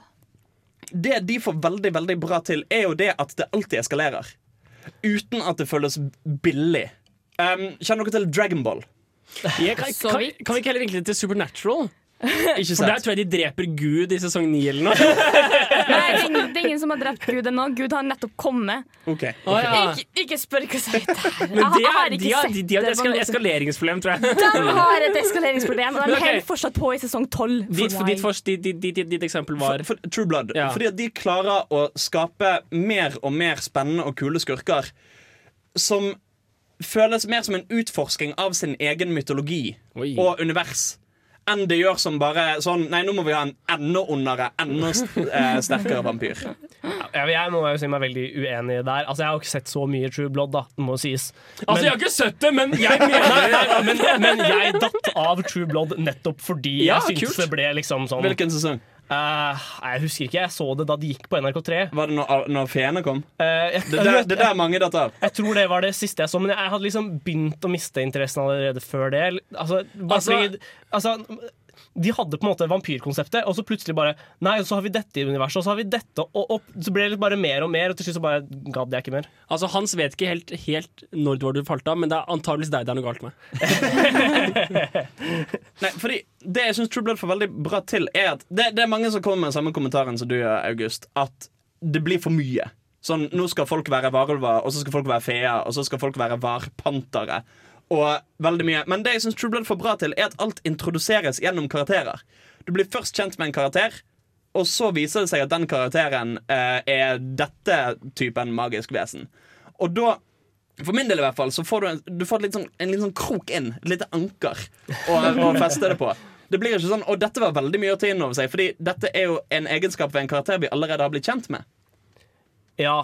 S2: det de får veldig, veldig bra til, er jo det at det alltid eskalerer. Uten at det føles billig. Um, kjenner dere til Dragonball?
S6: Jeg, kan,
S4: Så
S6: kan,
S4: vidt.
S6: kan vi [LAUGHS] ikke heller vinkle det til Supernatural?
S2: Ikke
S6: For
S2: sant?
S6: der [LAUGHS] tror jeg de dreper Gud i sesong ni eller noe.
S4: Nei, det er ingen, det er ingen som har drept Gud ennå. Gud har nettopp kommet.
S2: Ok.
S6: Å, ja.
S4: Ikke, ikke spør hva som heter det. Jeg,
S6: Men
S4: har-
S6: det
S4: jeg
S6: er,
S4: har
S6: de,
S4: ikke
S6: har,
S4: sett
S6: de,
S4: det.
S6: de har et
S4: på
S6: eskal
S4: noe som-
S6: eskaleringsproblem, tror [LAUGHS] jeg.
S4: De har et eskaleringsproblem, og de
S6: Men ok.
S4: holder fortsatt på i sesong tolv.
S6: Ditt, ditt, forst- ditt, ditt, ditt, ditt eksempel var
S2: for, for True Blood.
S6: Ja.
S2: Fordi at de klarer å skape mer og mer spennende og kule skurker som føles mer som en utforsking av sin egen mytologi
S6: Oi.
S2: og univers. Enn det gjør som bare sånn Nei, nå må vi ha en enda ondere, enda st eh, sterkere
S6: [LAUGHS]
S2: vampyr.
S3: Jeg, jeg må jo si meg veldig uenig der. Altså, Jeg har jo ikke sett så mye True Blood, da. Det må jo
S2: [LAUGHS]
S3: sies.
S6: Altså, jeg har ikke sett det, men jeg mener
S3: men, men jeg datt av True Blood nettopp fordi
S6: Ja,
S3: jeg syntes
S6: kult.
S3: det ble liksom sånn
S2: Hvilken sesong?
S3: eh, Jeg husker ikke. Jeg så det da det gikk på NRK3.
S2: Var det når, når feene kom?
S3: Eh, jeg,
S2: Det der, det der mange datt av.
S3: Jeg tror det var det siste jeg så, men jeg hadde liksom begynt å miste interessen allerede før det. Altså, bare
S6: Altså-
S3: fordi, altså, de hadde på en måte vampyrkonseptet, og så plutselig bare Nei, og så har vi dette i universet, og så har vi dette, og, og så ble det bare mer og mer, og til slutt så bare gadd jeg ikke mer.
S6: Altså, Hans vet ikke helt, helt når det var du falt av, men det er antageligvis deg det er noe galt med.
S2: Nei, fordi Det jeg syns True Blood får veldig bra til, er at det, det er mange som kommer med samme kommentaren som du gjør, August. At det blir for mye. Sånn, Nå skal folk være varulver, og så skal folk være feer, og så skal folk være varpantere. Og veldig mye Men det jeg syns True Blood får bra til, er at alt introduseres gjennom karakterer. Du blir først kjent med en karakter, og så viser det seg at den karakteren eh, er dette typen magisk vesen. Og da for min del i hvert fall, så får du en, du får et litt sånn, en liten sånn krok inn. Et lite anker å, å feste det på. Det blir ikke sånn, Og dette var veldig mye å ta inn over seg, Fordi dette er jo en egenskap ved en karakter vi allerede har blitt kjent med.
S3: Ja.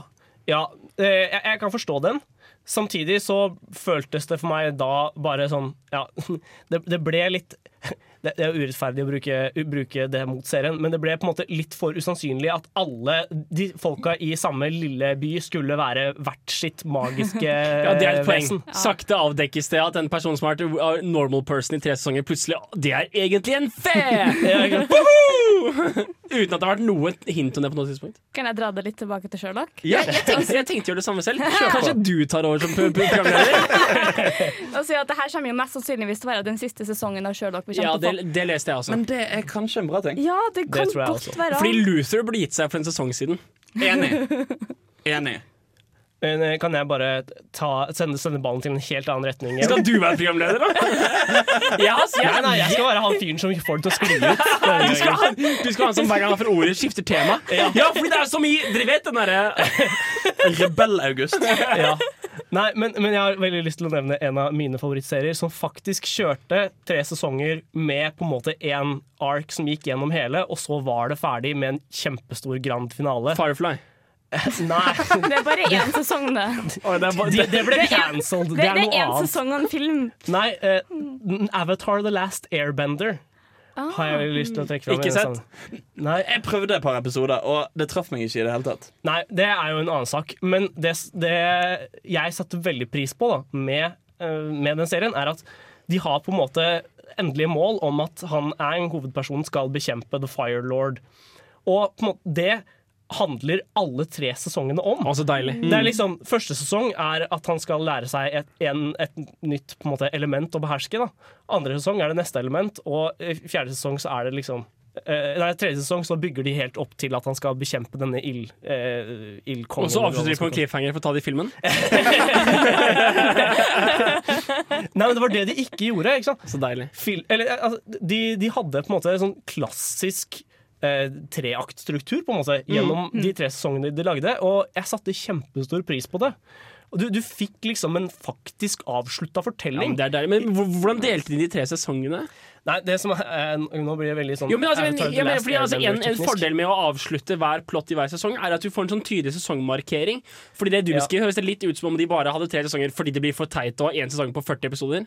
S3: ja eh, jeg, jeg kan forstå den. Samtidig så føltes det for meg da bare sånn Ja, [LAUGHS] det, det ble litt [LAUGHS] det, det er jo urettferdig å bruke, bruke det mot serien, men det ble på en måte litt for usannsynlig at alle de folka i samme lille by skulle være hvert sitt magiske
S6: [LAUGHS] Ja, Det er et poeng.
S3: Eh, vesen.
S6: Sakte avdekkes det at en person som har vært en normal person i tre sesonger, plutselig Det er egentlig en fe! [LAUGHS]
S3: Ja, ikke sant?
S6: Woohoo! Uten at det har vært noe hint om det på noe tidspunkt.
S4: Kan jeg dra det litt tilbake til Sherlock?
S6: Jeg, jeg, tenkte, jeg tenkte gjøre det samme selv. Kanskje du tar over som pro- pro- [LAUGHS] programleder?
S4: Og si at det her kommer jo mest sannsynligvis til å være den siste sesongen av Sherlock. Vi
S6: Ja,
S4: kommer
S6: det,
S4: til å få.
S6: det leste jeg også.
S2: Men det er kanskje en bra ting.
S4: Ja, det kan
S3: tror jeg
S4: godt
S3: også.
S4: være.
S6: Fordi Luther ble gitt seg for en sesong siden.
S2: Enig. Enig.
S3: Men, eh, Kan jeg bare ta, sende, sende ballen til en helt annen retning? igjen?
S6: Skal du være programleder, da? [LAUGHS] Ja, altså,
S3: Nei,
S6: jeg,
S3: nei, jeg skal være han fyren som får det til å skli ut.
S6: [LAUGHS] Du skal, ha, du skal ha en som hver gang han får ordet, skifter tema. Ja, fordi det er som i Dere vet den derre
S2: Rebell-August.
S3: ja. Nei, men, men jeg har veldig lyst til å nevne en av mine favorittserier som faktisk kjørte tre sesonger med på en måte én ark som gikk gjennom hele, og så var det ferdig med en kjempestor grand finale.
S6: Firefly.
S3: Nei,
S4: Det er bare én sesong, det.
S3: [LAUGHS]
S6: det,
S3: de, det ble
S4: Det er-
S3: cancelled.
S4: Det,
S3: Det er
S4: det er
S3: noe
S4: én
S3: annet.
S4: sesong av en film.
S3: Nei, eh, Avatar The Last Airbender har jeg veldig lyst til å trekke fram.
S2: Ikke
S3: i denne
S2: sett?
S3: sammenhengen. Nei,
S2: Jeg prøvde et par episoder, og det traff meg ikke i det hele tatt.
S3: Nei, det er jo en annen sak. Men det, det jeg satte veldig pris på da, med, eh, med den serien, er at de har på en måte endelige mål om at han er en hovedperson skal bekjempe The Fire Lord. Og på en måte, det handler alle tre sesongene om.
S6: Å, så deilig.
S3: Det er liksom, Første sesong er at han skal lære seg et, en, et nytt på en måte, element å beherske. Da. Andre sesong er det neste element, og i fjerde sesong så er det liksom eh, Nei, tredje sesong så bygger de helt opp til at han skal bekjempe denne ild, eh, ildkongen.
S6: Og så avslutter vi på en cliffhanger for å ta det i filmen.
S3: Nei, men det var det de ikke gjorde. ikke sant?
S6: Så deilig.
S3: Fil, eller, eh, altså, de, de hadde på en måte en sånn klassisk eh, treaktstruktur på en måte,
S6: Mm.
S3: gjennom de tre sesongene de lagde, og jeg satte kjempestor pris på det. Og du, du fikk liksom en faktisk avslutta
S6: Ja,
S3: fortelling.
S6: men, det er deilig. men hvor- hvordan delte de de tre sesongene?
S3: Nei, det som er, eh, Nå blir jeg veldig sånn
S6: Jo, men altså, men,
S3: Avatar The
S6: jeg mener,
S3: Last
S6: fordi, altså, en, en
S3: Airbender-teknisk.
S6: fordel med å avslutte hver plott i hver sesong, er at du får en sånn tydelig sesongmarkering. Fordi det du
S3: Ja.
S6: beskriver, høres det litt ut som om de bare hadde tre sesonger fordi det blir for teit å ha én sesong på 40 episoder.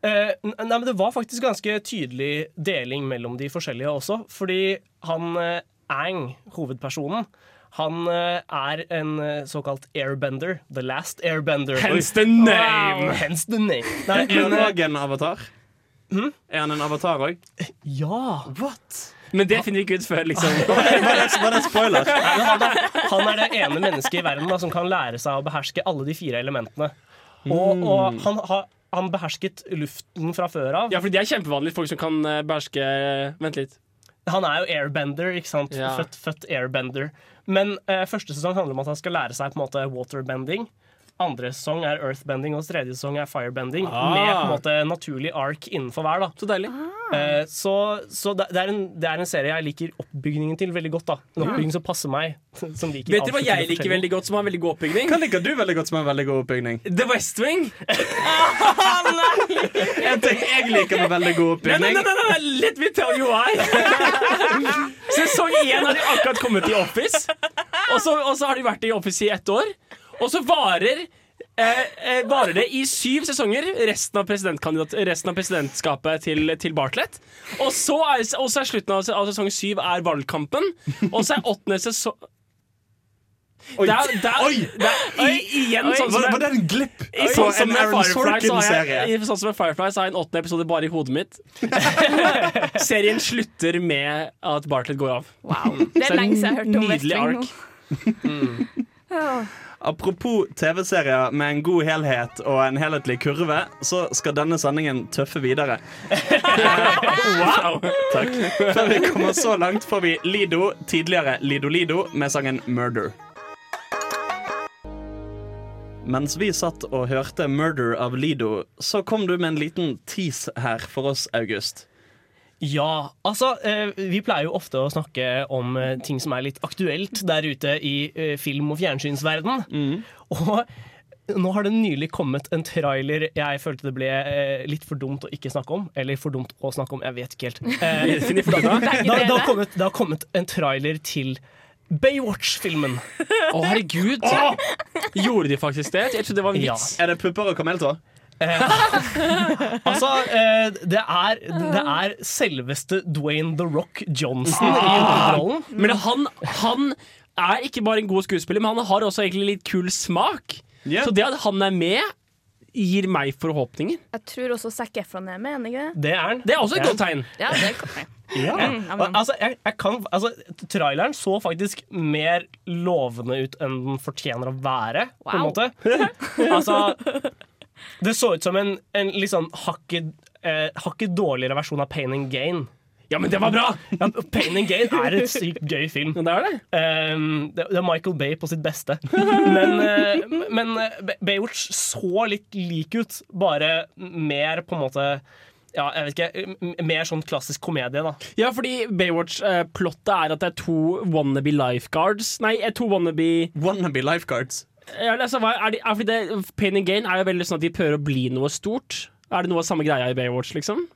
S3: Eh, n- nei, men Det var faktisk ganske tydelig deling mellom de forskjellige også. Fordi han eh, Ang, hovedpersonen, han eh, er en eh, såkalt airbender. The last airbender.
S6: Hence the
S3: Oi.
S6: name!
S3: Wow, hence the name. Nei,
S2: Er han
S3: men, eh,
S2: òg en avatar? Er han en avatar òg?
S3: ja.
S6: Men det finner vi ikke ut før, [LAUGHS] liksom.
S2: Var det en spoiler?
S3: Han er det ene mennesket i verden da, som kan lære seg å beherske alle de fire elementene. Og, og han har han behersket luften fra før av.
S6: Ja, fordi det er kjempevanlig folk som kan eh, beherske Vent litt.
S3: Han er jo airbender, ikke sant?
S6: Ja.
S3: Født, født airbender. Men eh, første sesong handler om at han skal lære seg på en måte waterbending. Andre sesong er earthbending, og tredje sesong er firebending.
S6: Ah.
S3: Med på en måte naturlig ark innenfor hver. da
S6: Så deilig.
S3: Eh, Så, så det, det, er en, det er en serie jeg liker oppbygningen til veldig godt. da En oppbygging som passer meg. Som liker
S6: Vet dere hva jeg
S3: avsluttende
S6: liker
S3: fortellinger.
S6: veldig godt, som har en veldig god oppbygning?
S2: Hva liker du veldig godt som er en veldig god oppbygning?
S6: The West Wing.
S2: En ting jeg liker med veldig god
S6: Nei, nei,
S2: oppbygning
S6: nei, nei, nei, let me tell you why. [LAUGHS] Sesong én har de akkurat kommet i Office, og så, og så har de vært i Office i ett år. Og så varer Eh, eh, varer det i syv sesonger, resten av, presidentkandidat- resten av presidentskapet til, til Bartlett. Og så er, og så er slutten av, altså, av sesong syv er valgkampen, og så er åttende sesong Det er, det er, det er i, igjen sånn som
S2: Var,
S6: det-
S2: var det en glipp
S6: i
S2: på
S6: sånn som
S2: en
S6: med
S2: Aaron
S6: Firefly, så har
S2: Sorkin-serie?
S6: jeg, i sånn som med Firefly så har jeg en åttende episode bare i hodet mitt. Serien slutter med at Bartlett går av.
S4: Wow. Ah, Det
S6: Så
S4: er lenge siden jeg har hørt om
S6: nydelig
S4: wrestling nå.
S6: ark.
S2: Apropos TV-serier med en god helhet og en helhetlig kurve, så skal denne sendingen tøffe videre.
S6: Wow! [LAUGHS]
S2: Takk. Før vi kommer så langt, får vi Lido, tidligere Lido Lido, med sangen 'Murder'. Mens vi satt og hørte 'Murder' av Lido, så kom du med en liten tease her for oss, August.
S3: Ja, altså eh, Vi pleier jo ofte å snakke om eh, ting som er litt aktuelt der ute i eh, film- og fjernsynsverden. Og nå har det nylig kommet en trailer jeg følte det ble eh, litt for dumt å ikke snakke om. Eller for dumt å snakke om, jeg vet ikke helt. [LAUGHS] Eh,
S4: Begge
S3: da, det,
S4: deler.
S3: har kommet, det har kommet en trailer til Baywatch-filmen.
S6: Å, herregud! Gjorde de faktisk det? Jeg trodde det var en
S3: Ja.
S6: vits.
S2: Er det pupper og kameltår?
S3: Altså, eh, det er, det er selveste Dwayne The Rock Johnson i hovedrollen.
S6: Men han, han er ikke bare en god skuespiller, men han har også egentlig litt kul smak.
S2: Ja.
S6: Så det at han er med, gir meg forhåpninger.
S4: Jeg tror også Zac Efron er med, er han ikke det?
S3: Det er han.
S6: Det er også et
S3: Ja.
S6: godt tegn.
S4: Ja, det kan jeg. Mm, ja,
S3: Og,
S4: men-
S3: altså, jeg, jeg kan, altså, traileren så faktisk mer lovende ut enn den fortjener å være, på en
S4: Wow.
S3: måte.
S4: [LAUGHS]
S3: altså, det så ut som en, en litt sånn hakket, eh, hakket dårligere versjon av Pain and Gain.
S6: Ja, men det var bra!
S3: Ja, Pain and Gain er en sykt gøy film.
S6: Ja, det er det.
S3: Um, det, det er Michael Bay på sitt beste. Men, eh, men eh, Bay- Baywatch så litt lik ut, bare mer på en måte ja, jeg vet ikke, m- m- Mer sånn klassisk komedie, da.
S6: Ja, fordi Baywatch-plottet er at det er to wannabe lifeguards Nei, eh, to wannabe
S2: Wannabe lifeguards.
S6: ja, altså, hva er de, er fordi det, Pain and gain er jo veldig sånn at de prøver å bli noe stort. Er det noe av samme greia i Baywatch, liksom?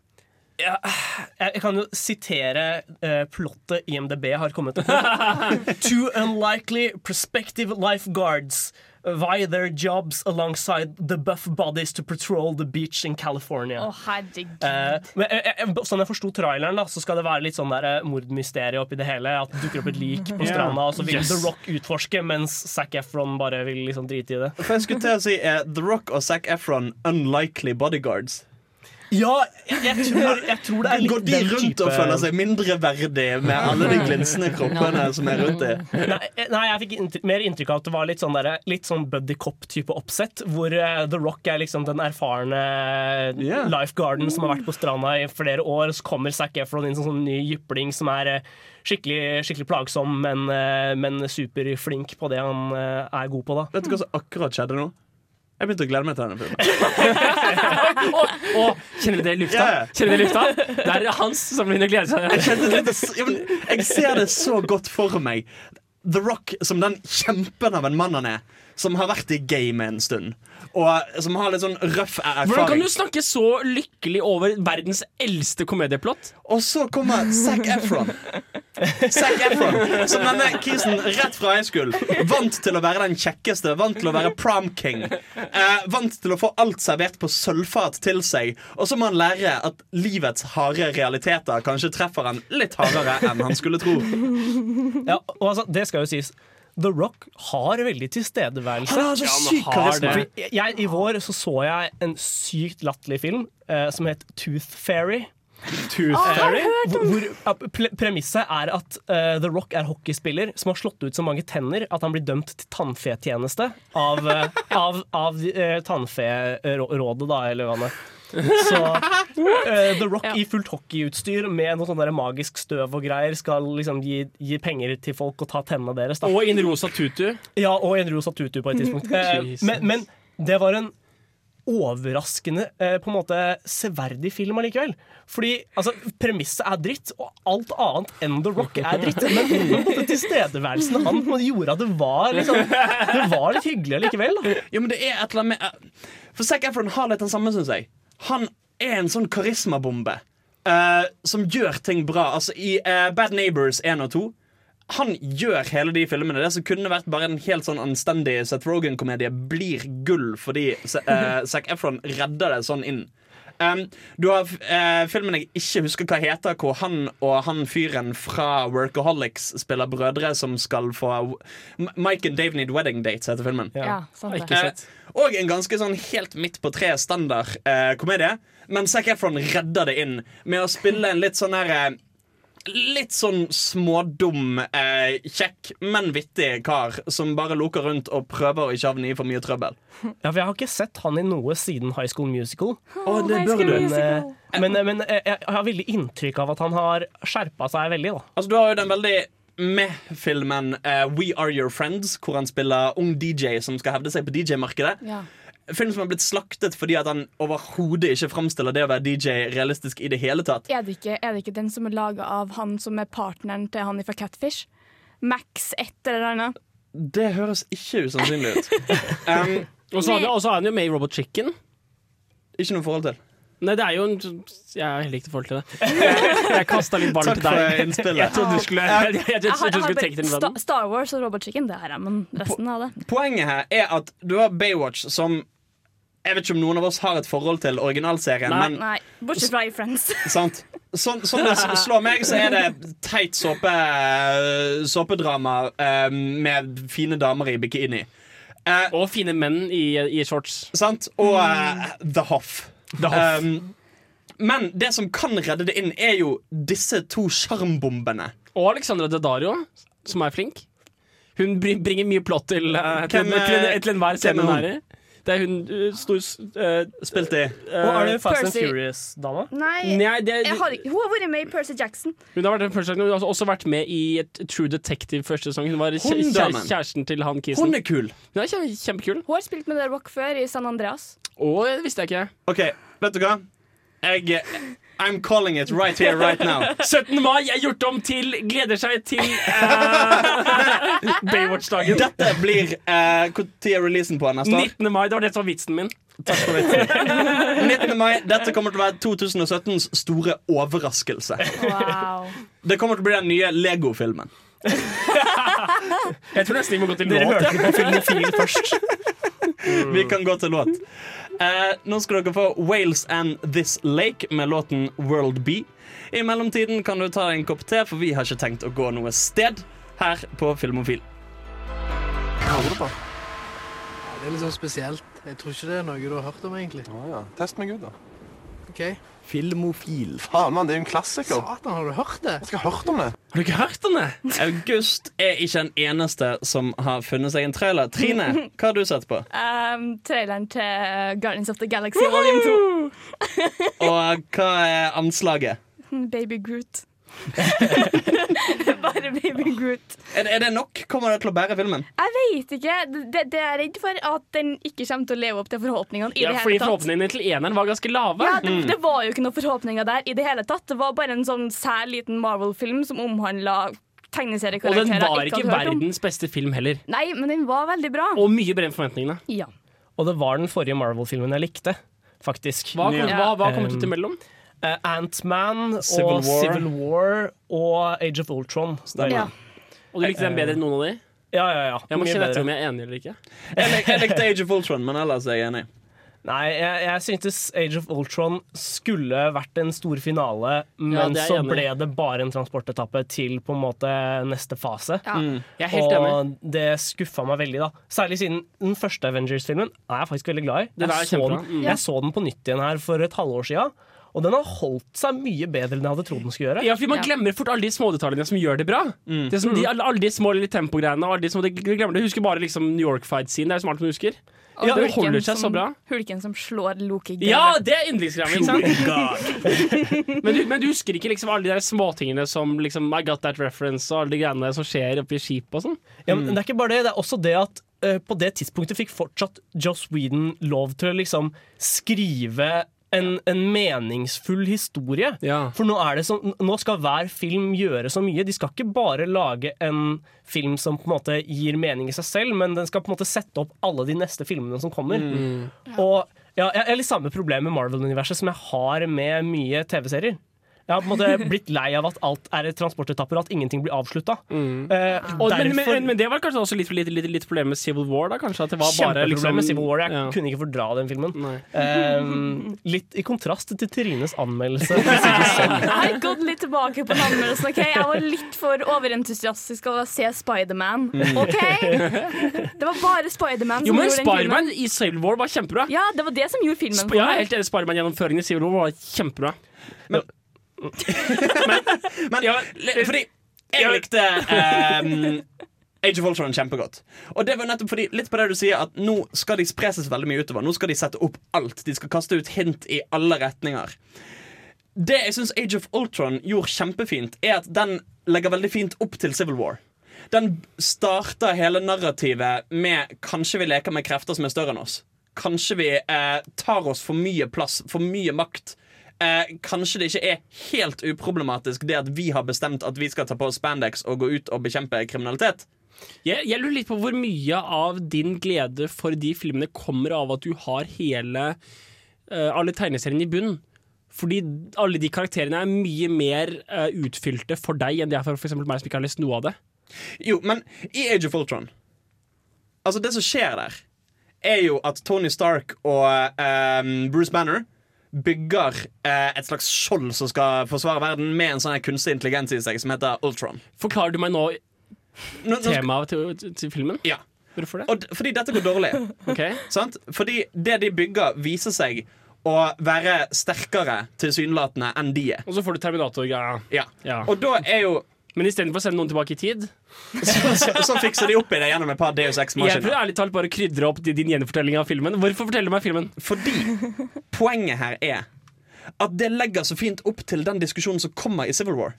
S3: Jeg, jeg kan jo sitere eh, plottet IMDb har kommet opp [LAUGHS] med. Two unlikely prospective lifeguards vie their jobs alongside the buff bodies to patrol the beach in California.
S4: Å, herregud.
S3: Eh, men eh, eh, sånn jeg forsto traileren, da, så skal det være litt sånn der eh, mordmysterie oppi det hele. At det dukker opp et lik på stranda, og så vil
S6: Yes.
S3: The Rock utforske, mens Zac Efron bare vil liksom drite i det.
S2: For jeg skulle til å si eh, The Rock og Zac Efron unlikely bodyguards.
S3: Ja, jeg, [LAUGHS] jeg, tror, jeg tror det er litt
S2: Går de rundt og føler seg mindreverdige med alle de glinsende kroppene som er rundt dem?
S3: Nei, eh, nei jeg fikk inntrykk, mer inntrykk av at det var litt sånn, derre- litt sånn buddy cop-type oppsett. Hvor eh, The Rock er liksom den erfarne eh,
S2: Ja.
S3: lifeguarden som har vært på stranda i flere år. Så kommer Zac Efron inn som sånn ny jypling som er eh, skikkelig, skikkelig plagsom, men, eh, men superflink på det han eh, er god på, da.
S2: Vet du hva som akkurat skjedde nå? Jeg begynte å glede meg til denne filmen.
S6: Å, kjenner dere det i lufta?
S2: Ja, ja.
S6: Kjenner dere det i lufta? Det er Hans som begynner å glede seg.
S2: Jeg, kjente litt, ja, men jeg ser det så godt for meg. The Rock som den kjempen av en mann han er. Som har vært i gamet en stund. Og som har litt sånn røff
S6: Hvordan kan
S2: erfaring.
S6: du snakke så lykkelig over verdens eldste komedieplott?
S2: Og så kommer Zac Efron. Zac Efron Som denne kisen rett fra high school. Vant til å være den kjekkeste, vant til å være prom king. Eh, vant til å få alt servert på sølvfat til seg. Og så må han lære at livets harde realiteter kanskje treffer han litt hardere enn han skulle tro.
S3: Ja, og altså, det skal jo sies. The Rock har veldig tilstedeværelse.
S2: Han har så syk karisma.
S3: Fordi Jeg, I vår så, så jeg en sykt latterlig film eh, som het Tooth Fairy. Eh,
S4: Å, jeg har hørt
S3: Hvor, hvor ja, pre- Premisset er at eh, The Rock er hockeyspiller som har slått ut så mange tenner at han blir dømt til tannfetjeneste av, eh, av, av eh, tannferådet, da, eller hva det er. Så eh, The Rock i fullt hockeyutstyr med noe sånn der magisk støv og greier skal liksom gi, gi penger til folk og ta tennene deres. Da.
S6: Og i en rosa tutu.
S3: Ja, og en rosa tutu på et tidspunkt. [LAUGHS] Eh,
S6: Jesus.
S3: men, men det var en overraskende eh, på en måte severdig film allikevel. Fordi altså, premisset er dritt, og alt annet enn The Rock er dritt. Men på en måte tilstedeværelsen han på en måte gjorde at det var, liksom, det var litt hyggelig allikevel. Da.
S2: Jo, men det er et eller annet med eh, For Zac Efron har litt den samme, syns jeg. Han er en sånn karismabombe eh, som gjør ting bra. Altså I eh, Bad Neighbors 1 og 2 han gjør hele de filmene. Det som kunne vært bare en helt sånn anstendig Seth Rogan-komedie, blir gull fordi eh, Zac Efron redder det sånn inn. Um, du har eh, filmen jeg ikke husker hva heter, hvor han og han fyren fra Workaholics spiller brødre som skal få M- Mike and Dave Need Wedding Dates, heter filmen.
S4: Ja, sant det.
S6: Ikke sett.
S2: Eh, og en ganske sånn helt midt på tre standard eh, komedie. Men Zac Efron redder det inn med å spille en litt sånn her eh, Litt sånn smådum, eh, kjekk, men vittig kar som bare loker rundt og prøver å ikke havne i for mye trøbbel.
S3: Ja, for jeg har ikke sett han i noe siden High School Musical.
S2: Å, det
S4: High
S2: bør
S4: School
S2: du.
S3: Men, eh,
S4: Musical.
S3: men, eh, men eh, jeg har veldig inntrykk av at han har skjerpa seg veldig. da
S2: Altså, du har jo den veldig med filmen eh, We Are Your Friends, hvor han spiller ung DJ som skal hevde seg på DJ-markedet.
S4: Ja.
S2: Film som har blitt slaktet fordi at han overhodet ikke framstiller det å være DJ realistisk i det hele tatt.
S4: Er det, ikke, er det ikke den som er laga av han som er partneren til han fra Catfish? Max et eller annet.
S2: Det høres ikke usannsynlig
S6: [LAUGHS]
S2: ut. Um,
S6: Og så har han jo- og så har han jo med i Robot Chicken.
S2: ikke noe forhold til.
S6: Nei, det er jo en Jeg har heller ikke forhold til det. Jeg, jeg kasta litt barn
S2: Takk
S6: til deg.
S2: for innspillet.
S6: Jeg trodde du skulle, jeg, jeg, jeg,
S4: Jeg har,
S6: trodde
S4: jeg
S6: du
S4: har
S6: skulle tenke
S4: bare
S6: den
S4: Sta
S6: vennen.
S4: Star Wars og Robot Chicken, det har jeg, men resten av det.
S2: Poenget her er at du har Baywatch, som jeg vet ikke om noen av oss har et forhold til originalserien,
S6: Nei.
S2: men
S4: Nei, bortsett fra i
S6: [LAUGHS]
S4: Friends.
S2: Sant? Sånn, sånn det s- slår meg, så er det teit såpe, såpedrama eh, med fine damer i bikini. Eh,
S6: Og fine menn i, i shorts.
S2: sant? Og eh, The Hoff.
S6: Mm. The Hoff.
S2: Um, men det som kan redde det inn, er jo disse to sjarmbombene.
S6: Og Alexandra Daddario, som er flink. Hun bri- bringer mye plott til, eh, til,
S2: Hvem
S6: til,
S2: er-
S6: til, til
S2: hvem
S6: enhver
S2: er
S6: scene hun
S2: hun?
S6: er i. Det er hun eh, stor s- eh,
S2: Spilt i
S3: Og er det Fast
S4: Percy.
S3: and Furious-dama?
S4: Nei,
S6: Nei, det,
S4: jeg har, ikke- hun har vært med i Percy Jackson.
S6: hun har vært den første, hun har også vært med i et True Detective første sesong. Hun var kjæ- kjæ-
S2: damen.
S6: kjæresten til han
S2: Hun
S6: kisen.
S2: er kul.
S6: Hun er kjempe- kjempekul.
S4: Hun har spilt med The Rock før i
S6: [LAUGHS]
S4: San Andreas.
S6: Å, det visste jeg ikke.
S2: OK, vet du hva? Jeg eh, I'm calling it right here, right now.
S6: 17. mai er gjort om til gleder seg til eh, Baywatch-dagen.
S2: Dette blir eh, Når er releasen på neste år?
S6: 19. mai, det var det som var vitsen min.
S2: 19. mai. Dette kommer til å være 2017s store overraskelse.
S4: Wow.
S2: Det kommer til å bli den nye Lego-filmen.
S6: Jeg tror nesten vi må gå til
S3: Dere
S6: låt.
S3: hørte det på Filmofil først.
S2: Vi kan gå til låt. Eh, nå skal dere få Wales and This Lake med låten World Be. I mellomtiden kan du ta deg en kopp te, for vi har ikke tenkt å gå noe sted her på Filmofil.
S7: Det er litt sånn spesielt. Jeg tror ikke det er noe du har hørt om, egentlig.
S8: Test meg ut, da.
S7: Ok.
S2: Filmofil.
S8: Faen, mann, det er jo en klassiker.
S7: Satan, har du hørt det?
S8: Jeg skal ha hørt om det.
S6: Har du ikke hørt den? jeg?
S2: August er ikke den eneste som har funnet seg en trailer. Trine, hva har du sett på?
S4: Um, traileren til uh, Guardians of the Galaxy volume 2.
S2: Og hva er anslaget?
S4: Baby Groot. [LAUGHS] Bare Baby Groot.
S2: Er det, er det nok? Kommer det til å bære filmen?
S4: Jeg vet ikke. Det, det er jeg redd for at den ikke kommer til å leve opp til forhåpningene. i
S6: Ja,
S4: det
S6: fordi
S4: hele tatt.
S6: Forhåpningene Mm. til eneren var ganske lave.
S4: Ja, det, det var jo ikke noen forhåpninger der i det hele tatt. Det var bare en sånn sær liten Marvel-film som omhandla
S6: Og den
S4: tegneseriekarakterer
S6: var
S4: jeg
S6: ikke
S4: ikke hadde hørt om.
S6: verdens beste film heller.
S4: Nei, men den var veldig bra.
S6: Og mye bedre enn forventningene.
S4: Ja.
S3: Og det var den forrige Marvel-filmen jeg likte, faktisk.
S6: Hva, kom,
S3: Ja.
S6: hva, hva kom det ut imellom?
S3: Eh, Ant-Man og
S2: Civil War.
S3: Civil War og Age of Ultron.
S4: ja.
S6: Og du likte den bedre enn noen av de?
S3: Ja, ja, ja.
S6: Jeg må
S3: Mye
S6: kjenne etter
S3: bedre.
S6: om jeg er enig eller ikke.
S2: Jeg, lik, jeg likte Age of Ultron, men ellers er jeg enig.
S3: Nei, jeg, jeg syntes Age of Ultron skulle vært en stor finale, men
S6: det er jeg
S3: så
S6: enig i.
S3: ble det bare en transportetappe til på en måte neste fase.
S4: Ja.
S6: Jeg er helt enig.
S3: og det skuffa meg veldig, da. Særlig siden den første Avengers-filmen er jeg faktisk veldig glad i.
S6: Den er
S3: Jeg så
S6: kjempebra. Mm.
S3: den, jeg så den på nytt igjen her for et halvår sia. Og den har holdt seg mye bedre enn jeg hadde trodd den skulle gjøre.
S6: Ja, fordi Man
S4: Ja.
S6: glemmer fort alle de smådetaljene som gjør det bra. Det som de, alle, alle de små lille tempogreiene. og Alle de små, de glemmer det. Husker bare liksom New York-fight-scene. Det er liksom alt man husker.
S4: Og
S6: Ja, det
S4: hulken
S6: holder seg så
S4: som-
S6: bra.
S4: Hulken som slår Loki. i
S6: Ja,
S4: gulvet.
S6: det er yndlingsgreiene. ikke sant? Men, du- men du husker ikke liksom alle de der småtingene som liksom, I got that reference og alle de greiene som skjer oppi skipet og sånn?
S3: Ja, men det er ikke bare det, det er også det at eh, på det tidspunktet fikk fortsatt Joss Whedon lov til å liksom skrive en, en meningsfull historie.
S6: Ja.
S3: For nå, er det så, nå skal hver film gjøre så mye. De skal ikke bare lage en film som på en måte gir mening i seg selv, men den skal på en måte sette opp alle de neste filmene som kommer.
S6: Mm.
S3: Og ja, Jeg jeg har litt samme problem med Marvel-universet som jeg har med mye TV-serier. Jeg har på en [LAUGHS] måte blitt lei av at alt er transportetapper, og at ingenting blir avslutta.
S6: Mm.
S3: Eh,
S6: Og, men,
S3: derfor-
S6: men, men det var kanskje også litt, litt, litt, litt problem med Civil War, da? kanskje? At det var bare
S3: Kjempeproblem
S6: liksom,
S3: med Civil War. Jeg
S6: Ja.
S3: kunne ikke fordra den filmen.
S6: Nei.
S3: Ehm, litt i kontrast til Trines
S6: [LAUGHS]
S3: anmeldelse.
S4: Jeg har gått litt tilbake på anmeldelsen. ok? Jeg var litt for overentusiastisk av å se Spiderman. OK? Det var bare
S6: Mm.
S4: Spiderman
S6: Jo, men
S4: som gjorde den filmen.
S6: Spiderman i Civil War var kjempebra.
S4: Ja, det var det som gjorde filmen.
S6: Sp-
S4: for
S6: Ja, jeg er
S4: meg.
S6: helt enig. Spiderman-gjennomføringen i Civil War var kjempebra. [LAUGHS]
S2: Men
S6: Ja,
S2: le- fordi jeg likte ehm, Age of Ultron kjempegodt. Og det var nettopp fordi, litt på det du sier, at nå skal de spre seg så veldig mye utover. Nå skal de sette opp alt. De skal kaste ut hint i alle retninger. Det jeg syns Age of Ultron gjorde kjempefint, er at den legger veldig fint opp til Civil War. Den starter hele narrativet med kanskje vi leker med krefter som er større enn oss. Kanskje vi eh, tar oss for mye plass, for mye makt. Eh, kanskje det ikke er helt uproblematisk det at vi har bestemt at vi skal ta på oss spandex og gå ut og bekjempe kriminalitet.
S6: Jeg, jeg lurer litt på hvor mye av din glede for de filmene kommer av at du har hele eh, alle tegneseriene i bunnen. Fordi alle de karakterene er mye mer eh, utfylte for deg enn de er for f.eks. meg som ikke har lest noe av det.
S2: Jo, men i Age of Ultron Altså, det som skjer der, er jo at Tony Stark og eh, Bruce Banner bygger eh, et slags skjold som skal forsvare verden, med en sånn her kunstig intelligens i seg som heter Ultron.
S6: Forklarer du meg nå
S2: Nå, nå,
S6: temaet til, til, til filmen?
S2: ja.
S6: Hvorfor det?
S2: og, d- fordi dette går dårlig.
S6: [LAUGHS] Ok.
S2: Sant? Fordi det de bygger, viser seg å være sterkere tilsynelatende enn de er.
S6: Og så får du Terminator-greia.
S2: Ja.
S6: Ja.
S2: Og da er jo [LAUGHS]
S6: Men istedenfor å sende noen tilbake i tid
S2: så, så, så fikser de opp i det gjennom et par Deus
S6: Jeg prøver
S2: Ex-maskiner.
S6: ærlig talt bare å krydre opp din gjenfortelling av filmen. Hvorfor forteller du meg filmen?
S2: Fordi poenget her er at det legger så fint opp til den diskusjonen som kommer i Civil War.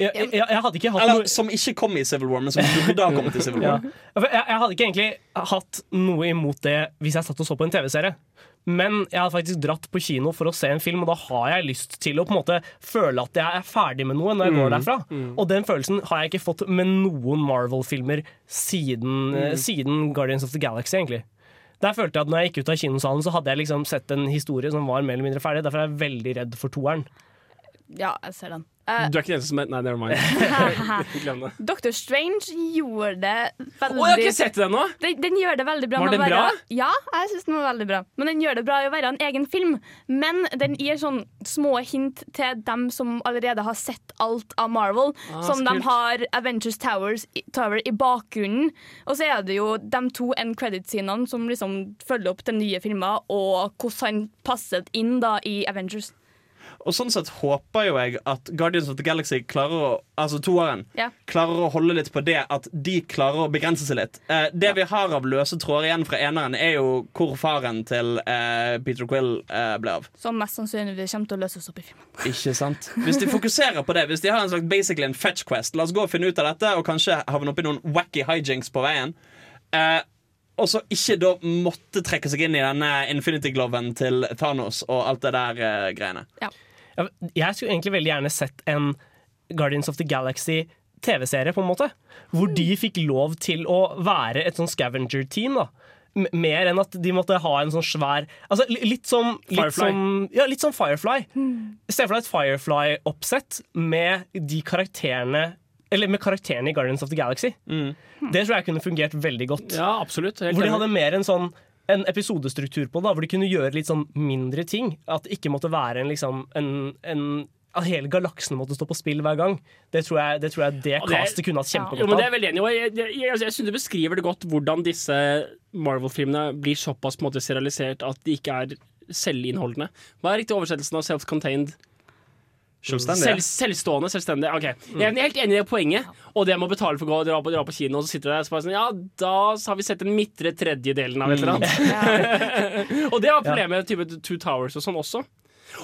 S3: Jeg, jeg, jeg hadde ikke hatt noe
S2: Eller som ikke kom i Civil War, men som burde ha kommet i Civil
S3: ja.
S2: War.
S3: For jeg, jeg hadde ikke egentlig hatt noe imot det hvis jeg satt og så på en TV-serie. Men jeg hadde faktisk dratt på kino for å se en film, og da har jeg lyst til å på en måte føle at jeg er ferdig med noe når jeg går derfra. Og den følelsen har jeg ikke fått med noen Marvel-filmer siden, eh, siden Guardians of the Galaxy, egentlig. Der følte jeg at når jeg gikk ut av kinosalen, så hadde jeg liksom sett en historie som var mer eller mindre ferdig. Derfor er jeg veldig redd for toeren.
S4: Ja, jeg ser den. Eh,
S6: Du er ikke den eneste som Nei, never [LAUGHS] mind. Glem det.
S4: Doctor Strange gjorde det
S6: Å,
S4: veldig
S6: jeg har ikke sett den ennå!
S4: den, den gjør det veldig bra.
S6: Var
S4: med å
S6: den
S4: være,
S6: bra?
S4: Ja, jeg synes den var veldig bra. Men den gjør det bra i å være en egen film. Men den gir sånn små hint til dem som allerede har sett alt av Marvel.
S6: Ah, så
S4: som de
S6: kult.
S4: har Avengers Towers, i- Tower i bakgrunnen. Og så er det jo de to end credit-scenene som liksom følger opp til nye filmer, og hvordan han passet inn da i Avengers.
S2: Og sånn sett håper jo jeg at Guardians of the Galaxy klarer å Altså toeren.
S4: Ja.
S2: Klarer å holde litt på det at de klarer å begrense seg litt. Eh, det vi har av løse tråder igjen fra eneren, er jo hvor faren til eh, Peter Quill eh, ble av.
S4: Som mest sannsynlig kommer til å løses opp i filmen.
S2: Ikke sant? Hvis de fokuserer på det, hvis de har en slags basically en fetch quest La oss gå og finne ut av dette, og kanskje havne oppi noen wacky hijinks på veien. Eh, og så ikke da måtte trekke seg inn i denne Infinity Gloven til Thanos og alt det der eh, greiene.
S3: Ja, Jeg skulle egentlig veldig gjerne sett en Guardians of the Galaxy TV-serie, på en måte. Hvor de fikk lov til å være et sånn scavenger-team. da. M- Mer enn at de måtte ha en sånn svær altså, li- Litt som litt
S6: Firefly.
S3: Som, ja, litt som Firefly. Se for deg et Firefly-oppsett med de karakterene Eller med karakterene i Guardians of the Galaxy. Det tror jeg kunne fungert veldig godt.
S6: Ja, absolutt. Helt
S3: Hvor de
S6: enig.
S3: hadde mer en sånn en episodestruktur på det, da, hvor de kunne gjøre litt sånn mindre ting. At det ikke måtte være en, liksom, en, en at hele galaksen måtte stå på spill hver gang. Det tror jeg det, tror jeg det
S6: Og det-
S3: castet kunne hatt
S6: Jo,
S3: kjempegodt
S6: men det
S3: av.
S6: er jeg veldig enig i, og Jeg, jeg, altså, jeg, jeg synes du beskriver det godt hvordan disse Marvel-filmene blir såpass på en måte serialisert at de ikke er selvinnholdende. Hva er riktig oversettelsen av self-contained?
S2: Selvstendig.
S6: Selv, selvstående, selvstendig. Ok, Jeg er helt enig i det poenget, og det med å betale for å gå og dra på, dra på kino, og så sitter du der og så bare sånn Ja, da har vi sett den midtre tredjedelen av et eller annet. [LAUGHS] og det var problemet med type Two Towers og sånn også.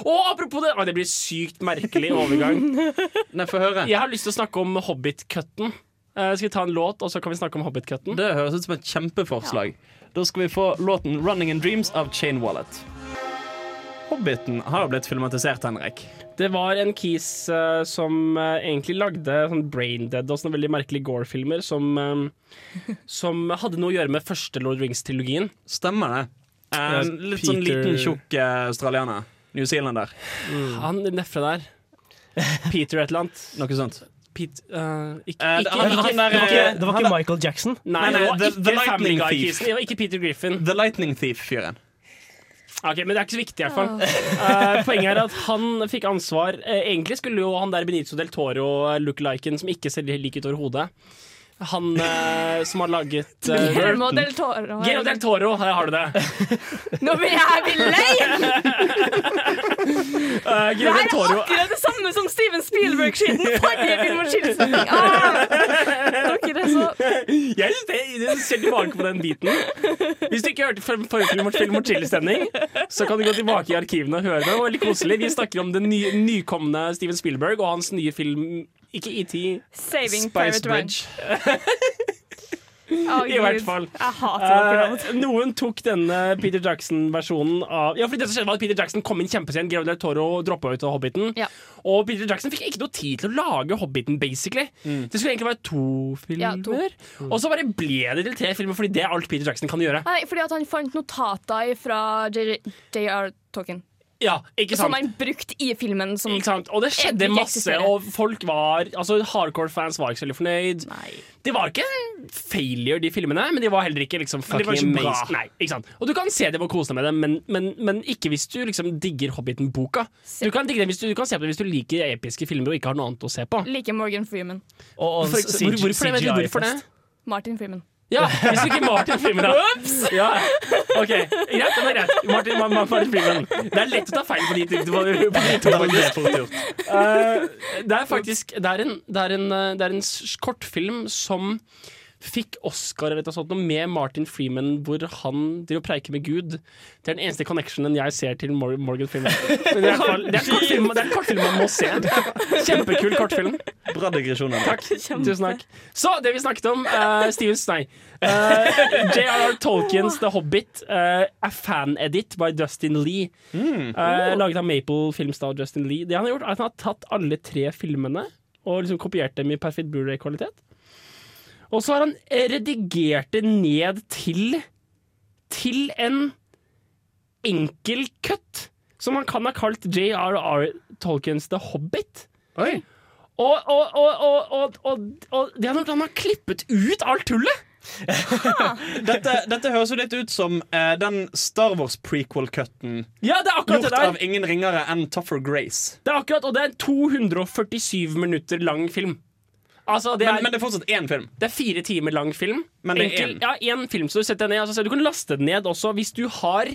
S6: Og apropos det! Å, det blir sykt merkelig overgang.
S2: Nei, få høre.
S6: Jeg har lyst til å snakke om Hobbit-cutten. Eh, skal vi ta en låt, og så kan vi snakke om Hobbit-cutten?
S2: Det høres ut som et kjempeforslag. Da skal vi få låten 'Running in Dreams' av Chain Wallet. Hobbiten har blitt filmatisert, Henrik.
S6: Det var en kis eh, som eh, egentlig lagde sånn Braindead og sånne veldig merkelige Gore-filmer som, eh, som hadde noe å gjøre med første Lord of the Rings-trilogien.
S2: Stemmer det? En
S3: Ja,
S2: litt sånn
S3: Peter-
S2: liten, tjukk eh, australianer. New Zealander.
S6: Han nefra der. Peter et eller annet.
S2: Noe sånt.
S6: Pete, eh, ikke,
S2: Eh,
S6: ikke,
S2: han-
S6: ikke,
S2: han der,
S3: Det var ikke,
S2: eh,
S3: det var ikke Michael Jackson.
S6: Nei,
S2: Nei, nei,
S6: det var
S2: The-
S6: ikke
S2: The
S6: Family
S2: Lightning Thief.
S6: Guy-kisen. Det var ikke Peter Griffin.
S2: The Lightning Thief-fyren.
S6: Ok, Men det er ikke så viktig, i hvert fall. Eh, poenget er at han fikk ansvar. Eh, egentlig skulle jo han der Benito del Toro, look-liken som ikke ser lik ut over hodet Han eh, som har laget eh,
S4: Guillermo del Toro.
S6: Guillermo del Toro, her har du det.
S4: Nå blir jeg
S6: [LAUGHS]
S4: blir lei!
S6: Eh, Guillermo
S4: Det her
S6: del
S4: er
S6: Toro
S4: akkurat det samme som Steven
S6: [LAUGHS]
S4: Spielberg-skitten forrige film om skilsmisse. Ah, dere er så
S6: [LAUGHS] Jeg synes det, jeg ser tilbake på den biten. Hvis du ikke hørte for- forrige film, film og chill-sending, så kan du gå tilbake i arkivene og høre det. Det var veldig koselig. Vi snakker om den ny, nykomne Steven Spielberg og hans nye film Ikke ET,
S4: Saving
S6: Spice
S4: Private Ryan.
S6: Bridge.
S4: Å,
S6: I hvert
S4: Gud.
S6: fall.
S4: Jeg hater dere.
S6: Eh, noen tok denne Peter Jackson-versjonen av Ja, fordi det som skjedde var at Peter Jackson kom inn kjempesent. Guillermo del Toro droppa ut av Hobbiten.
S4: Ja.
S6: Og Peter Jackson fikk ikke noe tid til å lage Hobbiten, basically. Det skulle egentlig være to filmer.
S4: Ja, to.
S6: Og så bare ble det til tre filmer, fordi det er alt Peter Jackson kan gjøre.
S4: Nei, fordi at han fant notater fra JR Talking.
S6: Ja, ikke
S4: Som
S6: sant?
S4: han brukte i filmen. Som,
S6: sånn Ikke sant? Og det skjedde
S4: Egentlig
S6: masse,
S4: eksisterer.
S6: og folk var Altså, hardcore-fans var ikke så veldig fornøyd.
S4: Nei.
S6: Det var ikke en failure, de filmene, men de var heller ikke liksom
S2: Men de var
S6: fucking
S2: ikke bra.
S6: amazing. Nei, ikke sant? Og du kan se dem og kose deg med dem, men, men, men ikke hvis du liksom digger Hobbiten-boka. Du kan, digge dem hvis du, du kan se på dem hvis du liker episke filmer og ikke har noe annet å se på.
S4: Like Morgan Freeman.
S3: Og, og
S6: For,
S3: CGI
S6: hvor, hvorfor, det? Vet du hvorfor det?
S3: fest.
S4: Martin Freeman.
S6: Ja, [LAUGHS] hvis du ikke Martin Freeman da. Ja. [LAUGHS] Ok, greit, den er greit. Martin, Ma- Ma- Martin Freeman. Det er lett å ta feil på de, to- på de to, faktisk. Eh, det er faktisk Det er en, det er en, eh, det er en s- kortfilm som fikk Oscar eller et eller annet sånt noe med Martin Freeman, hvor han driver og preiker med Gud. Det er den eneste connectionen jeg ser til Mor- Morgan [LAUGHS] Freeman. Men det er i hvert fall- det er en kortfilm- det er en kortfilm man må se. Kjempekul kortfilm.
S2: Bra digresjon. Henrik. [LAUGHS]
S6: Takk. Tusen takk. Så det vi snakket om eh, Stevens, nei. Eh, J.R.R. Tolkiens The Hobbit eh, er fan-edit by Dustin Lee. Eh, laget av Maple Films da, og Justin Lee. Det Han har gjort er at han har tatt alle tre filmene og liksom kopiert dem i perfekt Blu-ray-kvalitet. Og så har han redigert det ned til til en enkel cut, som han kan ha kalt J.R.R. Tolkiens The Hobbit.
S2: Oi.
S6: Og, og, og, og, og, og, og det er nok han har klippet ut alt tullet!
S2: Dette, dette høres jo litt ut som eh, den Star Wars-prequel-cutten
S6: Ja, det er akkurat det
S2: gjort
S6: der.
S2: av ingen ringere enn Tougher Grace.
S6: Det er akkurat, og det er en 247 minutter lang film. Altså, det er,
S2: Men, men det er fortsatt én film.
S6: det er fire timer lang film.
S2: Men det er
S6: Enkel-
S2: én.
S6: Ja, én film, så du setter deg ned. Altså, så du kan laste den ned også hvis du har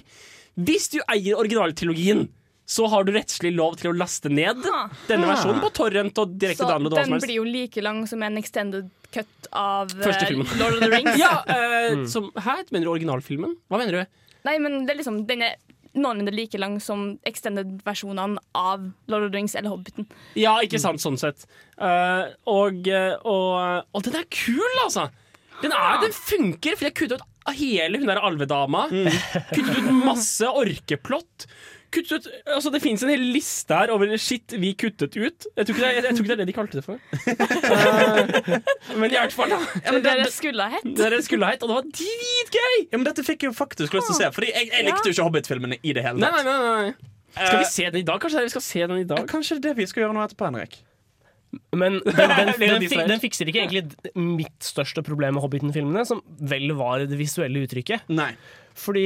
S6: Hvis du eier originaltrilogien. Så har du rettslig lov til å laste ned denne versjonen på torrent og direkte
S4: Ah. Så
S6: download. og hva som
S4: den
S6: helst.
S4: blir jo like lang som en extended cut av eh,
S6: Første filmen.
S4: Lord of the [LAUGHS] Rings.
S6: Ja, eh, som, Hæ? Mener du originalfilmen? Hva mener du?
S4: Nei, men det er liksom, den er noenlunde like lang som extended-versjonene av Lord of the Rings eller Hobbiten.
S6: Ja, ikke sant, sånn sett. Eh, og, eh, og, og den er kul, altså! Den, er, den funker, for jeg kuttet ut hele hun der alvedama. [LAUGHS] Kuttet ut masse orkeplott. Kuttet ut, altså det fins en hel liste her over shit vi kuttet ut. Jeg tror ikke det, er- jeg, jeg tror ikke det er det de kalte det for. [LAUGHS] Eh, men i hvert fall, da.
S4: Ja, men det, det skulle ha hett.
S6: Det er det skulle ha hett, og det var dritgøy!
S2: Ja, men Dette fikk jeg jo faktisk lyst til å se, Fordi jeg, jeg likte jo ikke Hobbit-filmene i det hele
S6: Nei,
S2: tatt.
S6: nei, nei, nei. Skal vi se den i dag? Kanskje det er vi skal se den i dag?
S2: Kanskje det er det vi skal gjøre nå etterpå, Henrik.
S6: [LAUGHS]
S3: Men den,
S6: Blir
S3: den,
S6: det
S3: den, fi-
S6: distrahert?
S3: den fikser ikke egentlig mitt største problem med Hobbiten-filmene, som vel var det visuelle uttrykket.
S2: Nei.
S3: Fordi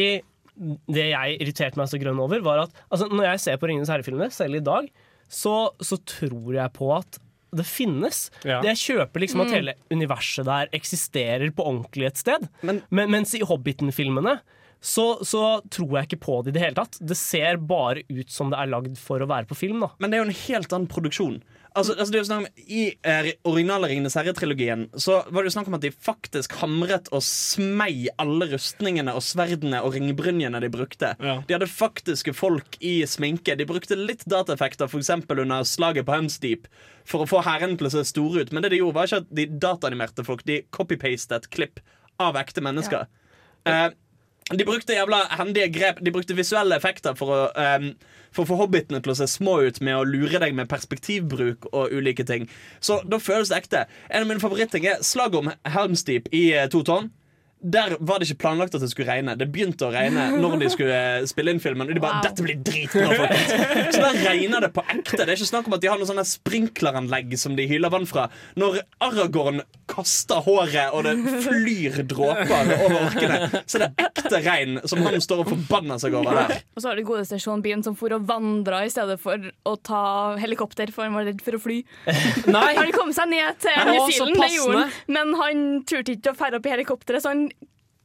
S3: det jeg irriterte meg så grønn over, var at altså, når jeg ser på Ringenes herre-filmene, selv i dag, så, så tror jeg på at det finnes.
S6: Ja.
S3: Jeg kjøper liksom at hele universet der eksisterer på ordentlig et sted.
S2: Men-
S3: Men, mens i Hobbiten-filmene så, så tror jeg ikke på det i det hele tatt. Det ser bare ut som det er lagd for å være på film. da
S2: Men det er jo en helt annen produksjon. Altså, altså det er jo snakk om, I eh, originale Ringenes herre-trilogien Så var det jo snakk om at de faktisk hamret og smei alle rustningene og sverdene og ringbrynjene de brukte.
S6: Ja.
S2: De hadde faktiske folk i sminke. De brukte litt dataeffekter, f.eks. under slaget på Helms Deep, for å få hærene til å se store ut. Men det de gjorde, var ikke at de dataanimerte folk. De copy-pastet klipp av ekte mennesker. Eh, de brukte jævla hendige grep De brukte visuelle effekter for å, ehm, for å få hobbitene til å se små ut med å lure deg med perspektivbruk og ulike ting. Så da føles det ekte. En av mine favoritting er slaget om Helms Deep i eh, to tonn. Der var det ikke planlagt at det skulle regne. Det begynte å regne når de skulle eh, spille inn filmen. Og de bare,
S4: Wow.
S2: dette blir dritbra folkens Så der regner det på ekte. Det er ikke snakk om at de har noen sånne sprinkleranlegg som de hyler vann fra. Når Aragorn kaster håret, og det flyr dråper over orkene, så er det ekte regn som han står og forbanner seg over der.
S4: Og så har du godeste Sean Bean som for og vandra i stedet for å ta helikopter, for han var redd for å fly.
S6: Nei!
S4: Han kom seg ned til
S6: Å,
S4: New
S6: så
S4: Zealand, det gjorde han,
S6: passende.
S4: men han turte ikke å ferde opp i helikopteret, så han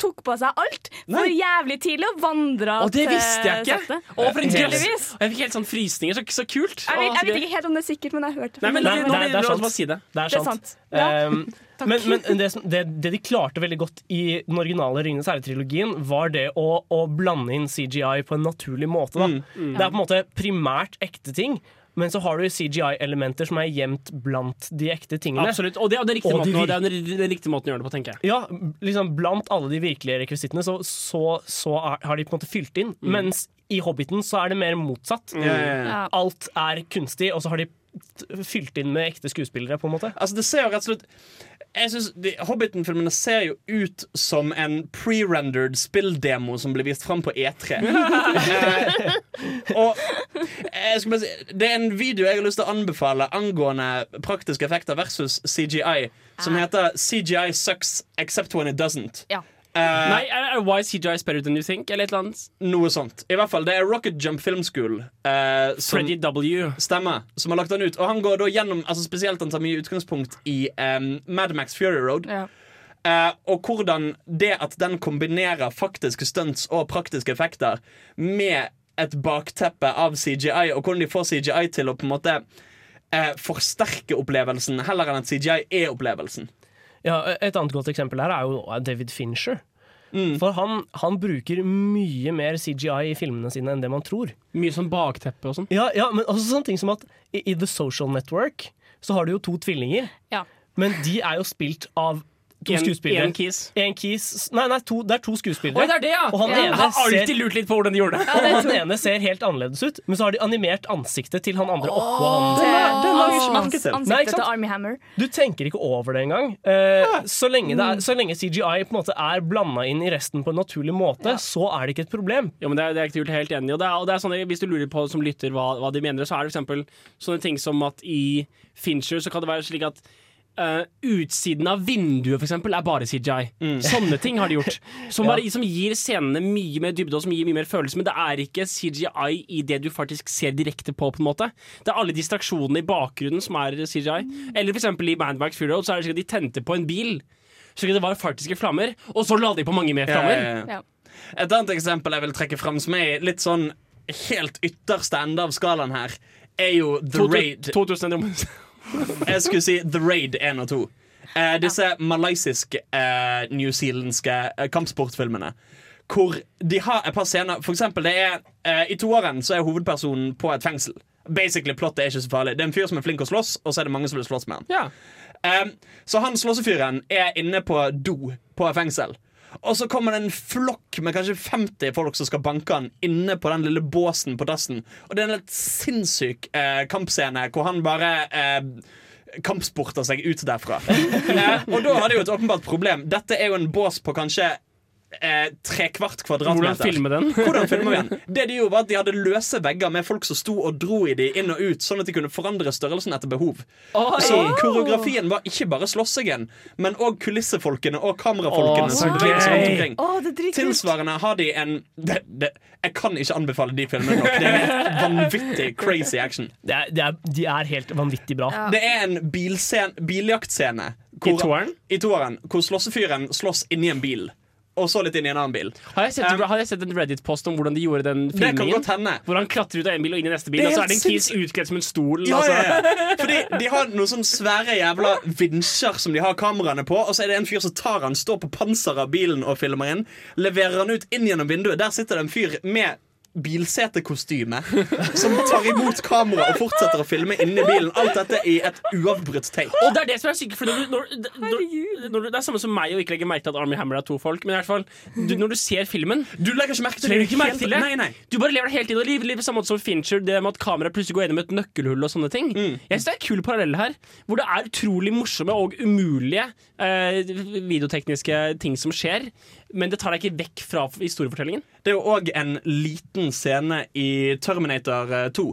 S4: tok på seg alt for jævlig tidlig og vandra
S6: Og det visste
S4: eh,
S6: jeg ikke!
S4: settet.
S6: Å, for en gøy-
S4: Heldigvis.
S6: Og Jeg fikk helt sånn frysninger. Så, så kult.
S4: Jeg
S6: Å,
S4: vet,
S6: så
S4: jeg vet
S6: gøy.
S4: ikke helt om det er sikkert, men jeg har hørt det.
S6: Nei, men
S3: Nei,
S6: la- la
S3: det er-
S6: meg-
S3: det er
S6: la
S3: sant.
S6: oss bare si det.
S3: Det er
S4: Det er
S3: sant.
S4: sant. Ja.
S3: Ehm,
S4: [LAUGHS]
S3: men men det, som, det, det de klarte veldig godt i den originale Ringenes herre-trilogien, var det å, å blande inn CGI på en naturlig måte. Da.
S4: Mm,
S3: Det er på en måte primært ekte ting, men så har du CGI-elementer som er gjemt blant de ekte tingene.
S6: Absolutt. Og det er den riktige
S3: Og de
S6: måten, å- det er den den riktige måten å gjøre det på, tenker jeg.
S3: Ja, liksom Blant alle de virkelige rekvisittene så, så, så er, har de på en måte fylt inn. Mens i Hobbiten så er det mer motsatt.
S4: Mm. Ja.
S3: Alt er kunstig, og så har de t- fylt inn med ekte skuespillere. på en måte
S2: Altså det ser jo rett og slett jeg synes de, Hobbiten-filmene ser jo ut som en pre-rendered spilldemo som ble vist fram på E3. Eh, og jeg skulle bare si Det er en video jeg har lyst til å anbefale angående praktiske effekter versus CGI, som heter CGI sucks except when it doesn't.
S4: Ja.
S2: Eh,
S6: Nei, er, er Why CGI is better than you think? Eller et eller annet.
S2: Noe sånt. I hvert fall, Det er Rocket Jump Film School eh, som
S3: Mm.
S6: Freddy W.
S2: Stemmer, som har lagt den ut. Og han går da gjennom, altså spesielt han tar mye utgangspunkt i em, Mad Max Fury Road.
S4: Ja.
S2: Eh, og hvordan det at den kombinerer faktiske stunts og praktiske effekter med et bakteppe av CGI, og hvordan de får CGI til å på en måte eh, forsterke opplevelsen heller enn at CGI er opplevelsen.
S3: ja, Et annet godt eksempel her er jo David Fincher. For han, han bruker mye mer CGI i filmene sine enn det man tror.
S6: Mye sånn bakteppe og sånn.
S3: Ja, ja men også sånne ting som at i, i The Social Network så har du jo to tvillinger,
S4: Ja.
S3: men de er jo spilt av to
S6: En-
S3: skuespillere.
S6: en kiss.
S3: En kiss Nei, nei to, det er to skuespillere.
S6: Oi, det er det, ja!
S3: Og han
S4: Ja.
S6: Jeg
S3: ene
S6: har alltid
S3: ser
S6: lurt litt på hvordan de gjorde det.
S3: ja, Han ene ser helt annerledes ut, men så har de animert ansiktet til han andre oppå han.
S4: Ans-
S3: Nei, ikke
S4: Ansiktet
S3: sant?
S4: til Army Hammer.
S3: Du tenker ikke over det engang. Eh, så, lenge det
S2: Mm.
S3: er, så lenge CGI på en måte er blanda inn i resten på en naturlig måte, så er det ikke et problem.
S6: Jo, men det er, det er kult, helt enig i. Og det er, og det er sånne, hvis du lurer på som lytter hva, hva de mener, så er det for eksempel sånne ting som at i Fincher så kan det være slik at eh, utsiden av vinduet for eksempel, er bare CGI.
S4: Mm.
S6: Sånne ting har de gjort.
S4: [LAUGHS]
S6: Som, bare, som gir scenene mye mer dybde og som gir mye mer følelse. Men det er ikke CGI i det du faktisk ser direkte på. på en måte Det er alle distraksjonene i bakgrunnen som er CGI. Eller for eksempel i Mad Max Fury Road så er det slik at de tente på en bil. Slik at det var faktiske flammer, og så la de på mange mer flammer.
S4: Ja.
S2: Eh, Et annet eksempel jeg vil trekke fram som er i litt sånn helt ytterste ende av skalaen her, er jo The Raid.
S6: 2000 rom-
S2: Jeg skulle si The Raid 1 og 2. Eh, disse malaysiske, eh, newzealandske eh, kampsportfilmene. Hvor de har et par scener For eksempel, det er, eh, I toeren så er hovedpersonen på et fengsel. Basically, Plottet er ikke så farlig. Det er en fyr som er flink å slåss, og så er det mange som vil slåss med han.
S6: Ja.
S2: Um, så han slåssefyren er inne på do på et fengsel. Og så kommer det en flokk med kanskje 50 folk som skal banke han inne på den lille båsen på dassen. Og det er en helt sinnssyk eh, kampscene hvor han bare eh, kampsporter seg ut derfra. eh, og da har de jo et åpenbart problem. Dette er jo en bås på kanskje eh, trekvart kvadratmeter.
S6: Hvordan filme den?
S2: Hvordan filmer vi den? Det De gjorde var at de hadde løse vegger med folk som sto og dro i de inn og ut, sånn at de kunne forandre størrelsen etter behov. Så koreografien var ikke bare slåssingen, men òg kulissefolkene og kamerafolkene.
S6: Åh,
S2: som
S6: så
S2: gikk
S6: gøy.
S2: rundt sånn omkring.
S4: Å, det er dritkult.
S2: Tilsvarende har de en det, det, Jeg kan ikke anbefale de filmene nok. Det er helt vanvittig crazy action.
S3: Det er, det er, de er helt vanvittig bra.
S4: Ja.
S2: Det er en bilscen- biljaktscene
S6: I toeren?
S2: i toeren, hvor slåssefyren slåss inni en bil. og så litt inn i en annen bil.
S6: Har jeg sett,
S2: Um,
S6: har jeg sett en Reddit-post om hvordan de gjorde den
S2: Det kan godt
S6: filmingen?
S2: hende.
S6: Hvor han klatrer ut av en bil og inn i neste bil,
S2: Det er
S6: og så
S2: helt
S6: er det en kis utkledd som en stol.
S2: Ja,
S6: altså.
S2: ja, ja. Fordi De har noen sånne svære jævla vinsjer som de har kameraene på. Og så er det en fyr som tar han, står på panseret av bilen og filmer inn. Leverer han ut inn gjennom vinduet. Der sitter det en fyr med bilsetekostyme som tar imot kamera og fortsetter å filme inni bilen. Alt dette i et uavbrutt take.
S6: Og det er det som er sykt, for når du, når, når, når, du- Det er samme som meg å ikke legge merke til at Army Hammer er to folk, men i hvert fall, du, når du ser filmen
S2: Du legger ikke merke
S6: så
S2: til
S6: legger du ikke merke
S2: helt-
S6: til det.
S2: Nei, nei.
S6: Du bare lever det hele tiden og lever, lever på samme måte som Fincher. Det med at kameraet plutselig går gjennom et nøkkelhull og sånne ting.
S2: Mm.
S6: Jeg synes Det er en kul parallell her, hvor det er utrolig morsomme og umulige eh, videotekniske ting som skjer, men det tar deg ikke vekk fra historiefortellingen.
S2: Det er jo òg en liten scene i Terminator eh, 2.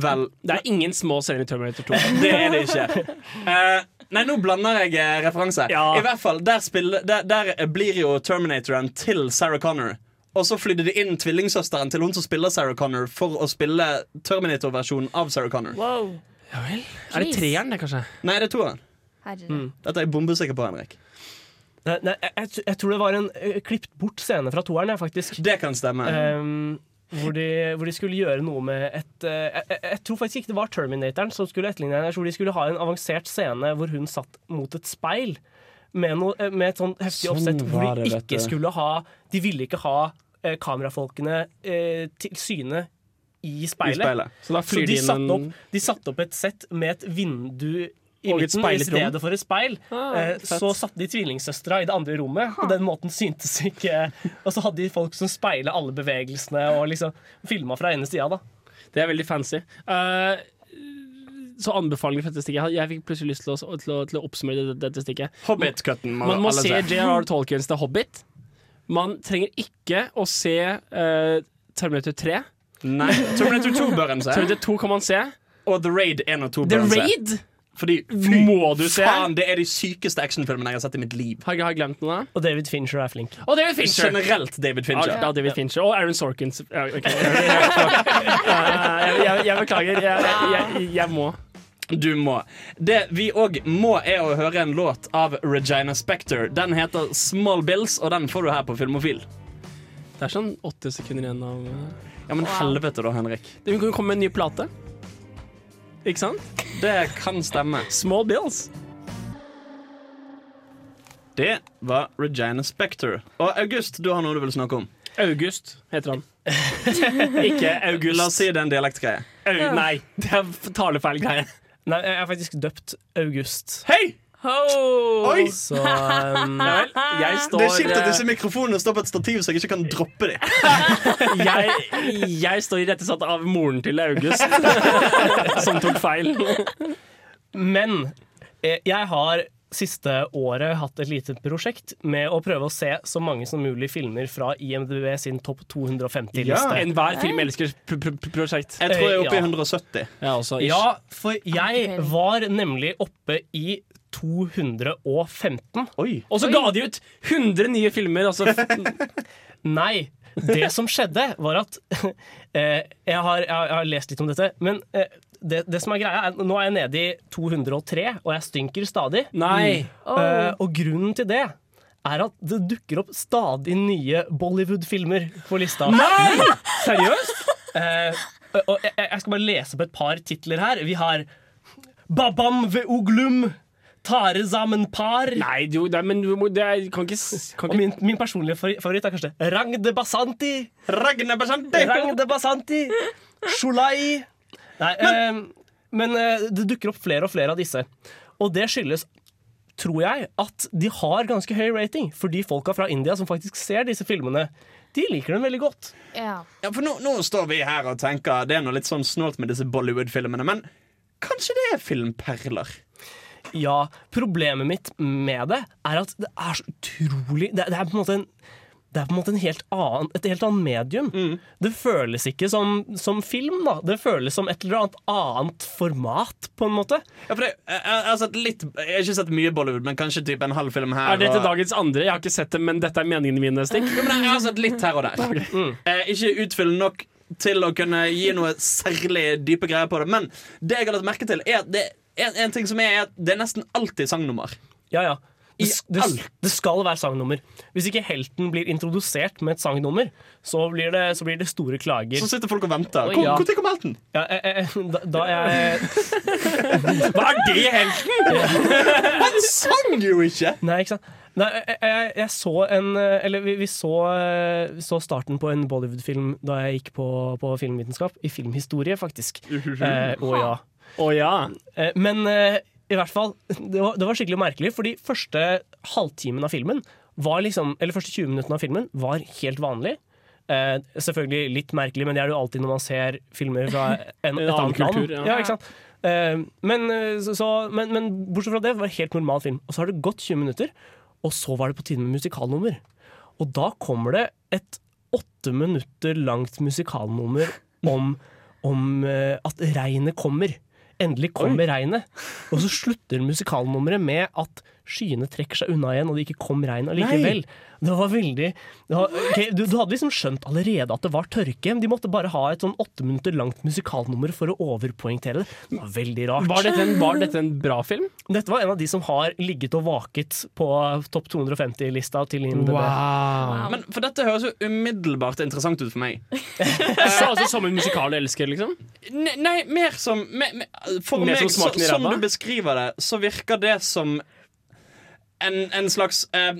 S2: Vel
S6: Det er ingen små scener i Terminator 2.
S2: Det er det ikke. Eh, nei, nå blander jeg eh, referanse.
S6: Ja.
S2: I hvert fall, der, spiller, der, der blir jo Terminatoren til Sarah Connor. Og så flydde de inn tvillingsøsteren til hun som spiller Sarah Connor, for å spille Terminator-versjonen av Sarah Connor.
S4: Wow.
S6: Ja vel. Er det
S4: Please.
S6: treeren, det, kanskje?
S2: Nei, det er toeren.
S4: Herre.
S2: Dette er jeg bombesikker på, Henrik.
S3: Nei, nei, jeg, jeg- jeg tror det var en uh, klippet bort scene fra toeren, jeg, faktisk.
S2: Det kan stemme.
S6: Eh,
S3: Ehm, hvor, de, hvor de skulle gjøre noe med et eh, jeg, jeg- jeg tror faktisk ikke det var Terminatoren som skulle etterligne henne. Jeg tror de skulle ha en avansert scene hvor hun satt mot et speil. Med, noe, eh, med et sånn heftig
S2: Sånn
S3: oppsett hvor
S2: var
S3: de
S2: det, vet
S3: ikke
S2: du.
S3: skulle ha De ville ikke ha eh, kamerafolkene eh, til syne i
S2: I
S3: speilet.
S2: speilet.
S6: Så da
S3: Så
S6: flyr
S3: de
S6: de inn
S3: satte
S6: en
S3: opp, de satte opp et sett med et vindu i
S6: Og et
S3: midten i
S6: speilet rom.
S3: stedet for et speil.
S6: Ah,
S3: Eh,
S6: fett. Ah.
S3: så satte de tvillingsøstera i det andre rommet. På den måten syntes ikke Og så hadde de folk som speila alle bevegelsene og liksom filma fra ene sida. da.
S6: Det er veldig fancy. Eh, så anbefalinger for dette stikket. Jeg- Jeg fikk plutselig lyst til å, til å, til å oppsummere dette, dette stikket.
S2: Hobbit-cutten. må
S6: Man må
S2: alle
S6: se J.R.R. Tolkiens The Hobbit. Man trenger ikke å se eh, Terminator 3.
S2: Nei. Terminator 2 bør en se.
S6: Terminator 2 kan man se.
S2: Og The Raid 1 og 2
S6: The
S2: bør en se.
S6: Raid
S2: Fordi
S6: må du se!
S2: faen, det er de sykeste actionfilmene jeg har sett i mitt liv.
S6: Har jeg har jeg glemt noe?
S3: Og David Fincher er flink.
S6: Og David Fincher.
S2: Generelt David
S6: Ja,
S2: Fincher.
S6: ja, David Fincher Og Aaron Sorkins. Ja, ok. Eh, jeg, jeg, jeg beklager. Jeg, jeg, jeg må.
S2: Du må. Det vi òg må, er å høre en låt av Regina Spektor. Den heter Small Bills, og den får du her på Filmofil.
S6: Det er sånn åtte sekunder igjen av eh.
S2: Ja, men helvete da, Henrik.
S6: Du kan komme med en ny plate. Ikke sant?
S2: Det kan stemme.
S6: Small Bills.
S2: Det var Regina Spektor. Og August, du har noe du vil snakke om.
S6: August heter han. [LAUGHS] ikke
S2: La oss
S6: August.
S2: si det er en dialektgreie.
S6: Au, nei, det er f- talefeil greie.
S3: Nei, jeg er faktisk døpt August.
S6: Hei!
S4: Ho!
S2: Oi!
S6: [LAUGHS]
S3: Så um,
S6: Ja vel, jeg står
S2: Det er kjipt at
S6: eh,
S2: disse mikrofonene står på et stativ, så jeg ikke kan droppe dem.
S6: jeg, jeg står irettesatt av moren til
S2: [LAUGHS]
S6: August, som tok feil.
S3: Men eh, jeg har siste året hatt et lite prosjekt med å prøve å se så mange som mulig filmer fra IMDb sin topp 250-liste.
S6: Enhver filmelskers pr pr pr prosjekt.
S2: Jeg tror jeg er oppe i
S3: Ja.
S2: 170.
S6: Ja, også, ish.
S3: Ja, for jeg var nemlig oppe i 215.
S2: Oi.
S6: Og så ga de ut 100 nye filmer. Altså, f-
S3: Nei, det
S6: [LAUGHS]
S3: som skjedde, var at [LAUGHS] eh, jeg, har, jeg, har, jeg har lest litt om dette, men eh, det, det som er greia er, Nå er jeg nede i 203, og jeg stynker stadig.
S6: nei.
S3: Eh, og grunnen til det er at det dukker opp stadig nye Bollywood-filmer på lista.
S6: Nei! Seriøst?
S3: Eh, og- og jeg, jeg skal bare lese opp et par titler her. Vi har Babam ve uglum, Tare sammen par.
S6: Nei, du, nei, men du må, det er, kan ikke, s- kan
S3: Og
S6: ikke
S3: min, min personlige favori- favoritt er kanskje det. Rang de Basanti!
S2: Ragne Bashante!
S3: Rang de Basanti! Shulai! Nei, men, men eh, det dukker opp flere og flere av disse. Og det skyldes, tror jeg, at de har ganske høy rating. Fordi folka fra India som faktisk ser disse filmene, de liker dem veldig godt.
S4: Ja.
S2: Ja, for nå, nå står vi her og tenker Det er noe litt sånn snålt med disse Bollywood-filmene, men kanskje det er filmperler?
S3: Ja, problemet mitt med det er at det er så utrolig Det, det er på en måte en det er på en måte en helt annen, et helt annet medium. Det føles ikke som, som film. da. Det føles som et eller annet annet format, på en måte.
S2: Ja, for det, jeg, jeg, har sett litt, jeg har ikke sett mye Bollywood, men kanskje typ en halv film her.
S6: Er dette
S2: og-
S6: dagens andre? Jeg har ikke sett det, men dette er meningene mine. Stikk.
S2: Jo, men jeg har sett litt her og der. [LAUGHS] Eh, ikke utfyllende nok til å kunne gi noe særlig dype greier på det. Men det jeg har lagt merke til, er at det, en, en ting som er, er at det er nesten alltid sangnummer.
S3: Ja, ja.
S6: I
S3: s- det, s- det skal være sangnummer. Hvis ikke helten blir introdusert med et sangnummer, så blir det, så blir det store klager.
S2: Så sitter folk og venter.
S3: Oi,
S2: Hvor-
S3: ja.
S2: Når kom helten?
S3: Ja, eh, eh, da, da jeg [LAUGHS]
S6: Hva er det i helten?!
S2: Han sang jo ikke!
S3: Nei, ikke sant. Nei, jeg, jeg, jeg så en Eller vi, vi så, eh, vi så starten på en Bollywood-film da jeg gikk på, på filmvitenskap. I filmhistorie, faktisk. Eh, å ja.
S6: Å ja.
S3: Eh, men eh, i hvert fall, [LAUGHS] det var, det var skikkelig merkelig, fordi første halvtimen av filmen var liksom, eller første 20 minuttene av filmen var helt vanlig. Eh, selvfølgelig litt merkelig, men det er det jo alltid når man ser filmer
S6: [LAUGHS]
S3: fra en, et
S6: annen
S3: annet
S6: kultur,
S3: land.
S6: ja.
S3: Ja. ikke sant? Eh, men, eh, så- så, men, men bortsett fra det var det helt normal film. Og så har det gått 20 minutter, og så var det på tide med musikalnummer. Og da kommer det et åtte minutter langt musikalnummer om, om eh, at regnet kommer. Endelig kommer regnet. Og så slutter musikalnummeret med at skyene trekker seg unna igjen, og det ikke kom regn allikevel. Det var veldig det var, ok, du, du hadde liksom skjønt allerede at det var tørke. men De måtte bare ha et sånn åtte minutter langt musikalnummer for å overpoengtere det. Det var veldig rart.
S6: Var dette, en, var dette en bra film?
S3: Dette var en av de som har ligget og vaket på topp 250-lista til IMDb.
S6: Wow.
S2: Men, for dette høres jo umiddelbart interessant ut for meg.
S6: Så, altså, som en musikal jeg elsker, liksom?
S2: Ne nei, mer som me me For
S6: Mer
S2: meg,
S6: som
S2: så,
S6: smaken i
S2: som
S6: ræva?
S2: du beskriver det, så virker det som en, en slags eh,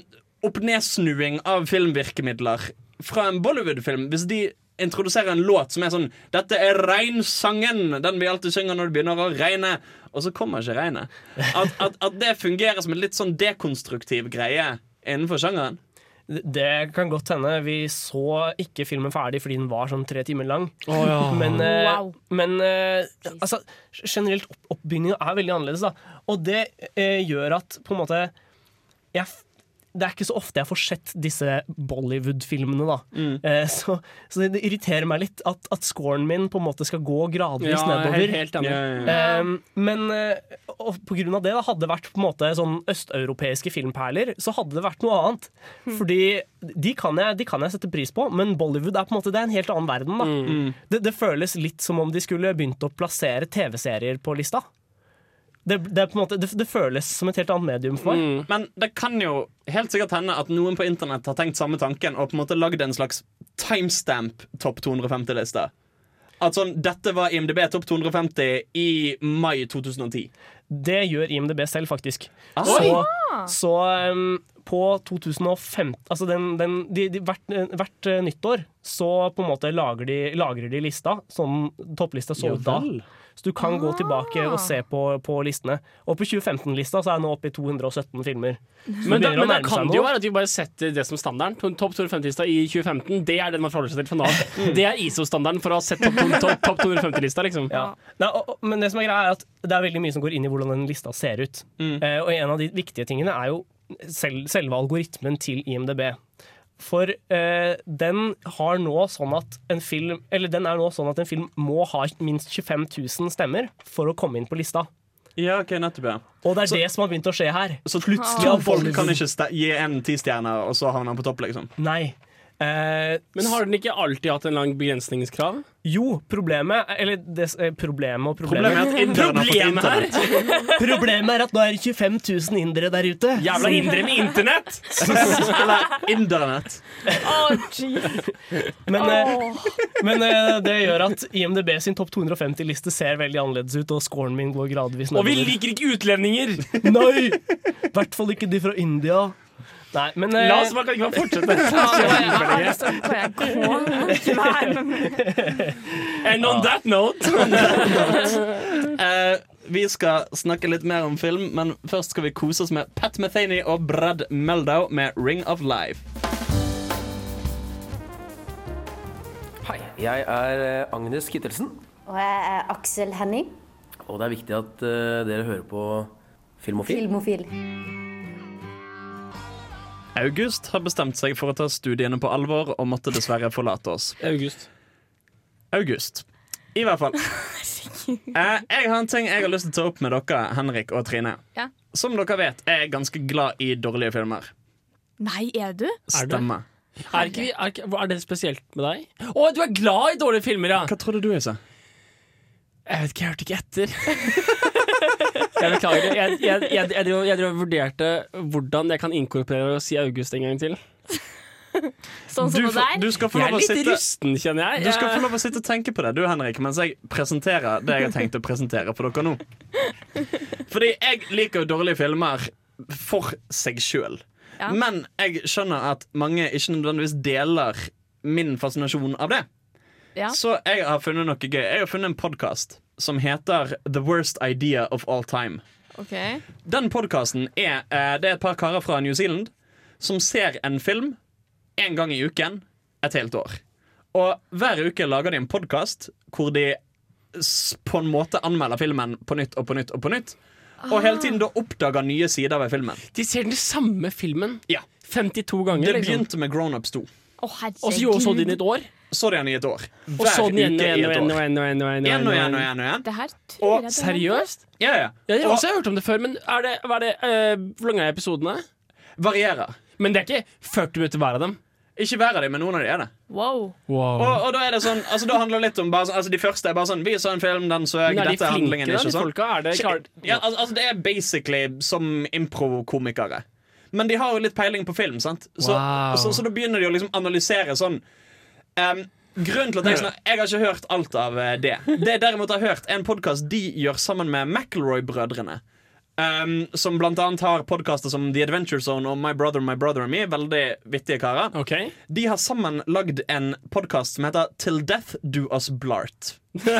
S2: opp-ned-snuing av filmvirkemidler fra en Bollywood-film. Hvis de introduserer en låt som er sånn 'Dette er regnsangen', den vi alltid synger når det begynner å regne, og så kommer ikke regnet. At, at, at det fungerer som en litt sånn dekonstruktiv greie innenfor sjangeren.
S3: Det kan godt hende. Vi så ikke filmen ferdig fordi den var sånn tre timer lang. Men, eh,
S4: Wow.
S3: men eh, altså, generelt opp oppbygninga er veldig annerledes. Da. Og det eh, gjør at på en måte jeg, f- Det er ikke så ofte jeg får sett disse Bollywood-filmene, da. Eh, så, så det irriterer meg litt at, at scoren min på en måte skal gå gradvis nedover.
S6: helt, helt enig.
S3: Um, men eh, og på grunn av det da, hadde det vært på en måte sånn østeuropeiske filmperler, så hadde det vært noe annet. Fordi de kan, jeg, de kan jeg sette pris på, men Bollywood er på en måte det er en helt annen verden. Da. Det, det føles litt som om de skulle begynt å plassere TV-serier på lista. Det, det, er på en måte, det, det føles som et helt annet medium for meg.
S2: Men det kan jo helt sikkert hende at noen på internett har tenkt samme tanken og på en måte lagd en slags timestamp topp 250-liste. At sånn, Dette var IMDb topp 250 i mai 2010.
S3: Det gjør IMDb selv, faktisk.
S6: Ah.
S3: Så, så um, på 2005 Altså den, den, de, de, hvert, hvert eh, nyttår så på en måte lager de, lagrer de lista sånn topplista så ut da. Så du kan gå tilbake og se på, på listene. Og på 2015-lista så er jeg nå oppe i 217 filmer. Så det
S6: Men da,
S3: begynner å
S6: men da
S3: nærme
S6: kan
S3: seg
S6: det jo
S3: noe.
S6: være at vi bare setter det som standarden. To- Topp 250-lista i 2015, det er den man forholder seg til for Nav. Det er ISO-standarden for å ha sett topp topp- topp 250-lista, liksom.
S3: Ja. Nei, og, og- men det som er greia er at det er veldig mye som går inn i hvordan den lista ser ut. Eh, og en av de viktige tingene er jo sel- selve algoritmen til IMDb. For eh, den har nå sånn at en film Eller den er nå sånn at en film må ha minst 25 000 stemmer for å komme inn på lista.
S2: Ja, ok, nettopp ja
S3: Og det er det som har begynt å skje her.
S2: Så plutselig
S3: Ah.
S2: folk kan ikke ste- gi en tistjerner, og så havner han på topp, liksom.
S3: Nei. Eh,
S6: Men har den ikke alltid hatt en lang begrensningskrav?
S3: jo, problemet Eller det, eh, problemet og problemet
S2: Problemet er at inderne har fått
S6: Problemet her?
S2: internett.
S3: [LAUGHS] Problemet er at nå er det 25 000 indere der ute.
S6: Jævla indre med internett!
S2: [LAUGHS] Eller internett.
S3: Men, eh, men eh, det gjør at IMDb sin topp 250-liste ser veldig annerledes ut, og scoren min går gradvis
S6: Og vi liker ikke utlendinger!
S3: Nei! I hvert fall ikke de fra India. Nei, men eh,
S6: La oss bare, kan ikke bare fortsette.
S4: Ja, nå er jeg- jeg har lyst til å- kan jeg gå? Ikke
S2: [LAUGHS]
S4: vær med meg.
S6: And on that note
S2: Eh, vi skal snakke litt mer om film, men først skal vi kose oss med Pat Metheny og Brad Meldow med Ring of Life.
S9: Jeg er eh, Agnes Kittelsen,
S10: Og jeg er Aksel Henning,
S9: og det er viktig at eh, dere hører på Filmofil.
S10: filmofil.
S2: August har bestemt seg for å ta studiene på alvor og måtte dessverre forlate oss.
S6: August.
S2: August. I hvert fall. Eh, jeg har en ting jeg har lyst til å ta opp med dere, Henrik og Trine.
S4: Ja.
S2: Som dere vet, er jeg ganske glad i dårlige filmer.
S4: Nei, er du?
S6: du?
S2: Stemmer.
S6: Er, ikke, vi- er, ikke, hva er det spesielt med deg? Å, du er glad i dårlige filmer, ja!
S2: Hva trodde du jeg sa?
S6: [LAUGHS] Jeg vet ikke, jeg hørte ikke etter. Jeg beklager det. Jeg, jeg, jeg, jeg, drev- jeg, drev og vurderte hvordan jeg kan inkorporere og si August en gang til.
S4: Sånn som
S2: Du,
S4: det
S2: får-
S4: der.
S2: du skal få
S6: Jeg
S2: lov
S6: er
S2: å
S6: litt
S2: sitte
S6: rusten, kjenner
S2: du
S6: jeg.
S2: skal få lov å sitte og tenke på det, du Henrik, mens jeg presenterer det jeg har tenkt å presentere for dere nå. Fordi jeg liker jo dårlige filmer for seg sjøl.
S4: Ja.
S2: Men jeg skjønner at mange ikke nødvendigvis deler min fascinasjon av det.
S4: Ja.
S2: Så jeg har funnet noe gøy. Jeg har funnet en podkast som heter The Worst Idea of All Time.
S4: OK.
S2: Den podkasten er eh, Det er et par karer fra New Zealand som ser en film én gang i uken et helt år. Og hver uke lager de en podkast hvor de s- på en måte anmelder filmen på nytt og på nytt og på nytt.
S6: Ah.
S2: Og hele tiden da oppdager nye sider ved filmen.
S6: De ser den samme filmen
S2: Ja.
S6: 52 ganger.
S2: Det
S6: Liksom.
S2: begynte med Grown Ups 2.
S4: Å,
S6: Og så
S2: sånn
S6: gjorde- så de den i
S4: herregud.
S6: et år.
S2: Så de den i et år. Hver
S6: Og så den igjen og
S2: uke i
S6: igjen og
S2: et år.
S6: igjen. og igjen og igjen og igjen og
S2: Igjen og igjen
S6: igjen.
S2: og igjen. og igjen.
S4: Det her
S2: Og
S4: tror jeg det var-
S6: Seriøst?
S2: Ja, ja.
S6: Ja, jeg har
S2: Og
S6: også hørt om det før, men er det, hva er det, eh, hvor lange er episodene?
S2: varierer.
S6: Men det er ikke 40 minutter hver av dem.
S2: Ikke hver av dem, men noen av dem er det.
S4: Wow.
S2: Og, og da er det sånn, altså da handler det litt om bare, sånn- altså De første er bare sånn Vi så en film, den så jeg,
S6: Men er de
S2: dette er
S6: flinke,
S2: handlingen.
S6: da,
S2: ikke
S6: de
S2: sånn
S6: folka? Er det klart?
S2: ja, altså, altså Det er basically som improkomikere. Men de har jo litt peiling på film, sant? Så,
S6: Wow.
S2: så, så da begynner de å liksom analysere sånn ehm, Grunnen til at Jeg snak- Jeg har ikke hørt alt av eh, det. Det jeg derimot har hørt, er en podkast de gjør sammen med McElroy-brødrene. ehm, som blant annet har podkaster som The Adventure Zone og My Brother, My Brother and Me. Veldig vittige karer.
S6: Ok.
S2: De har sammen lagd en podkast som heter Till Death Do Us Blart. Det,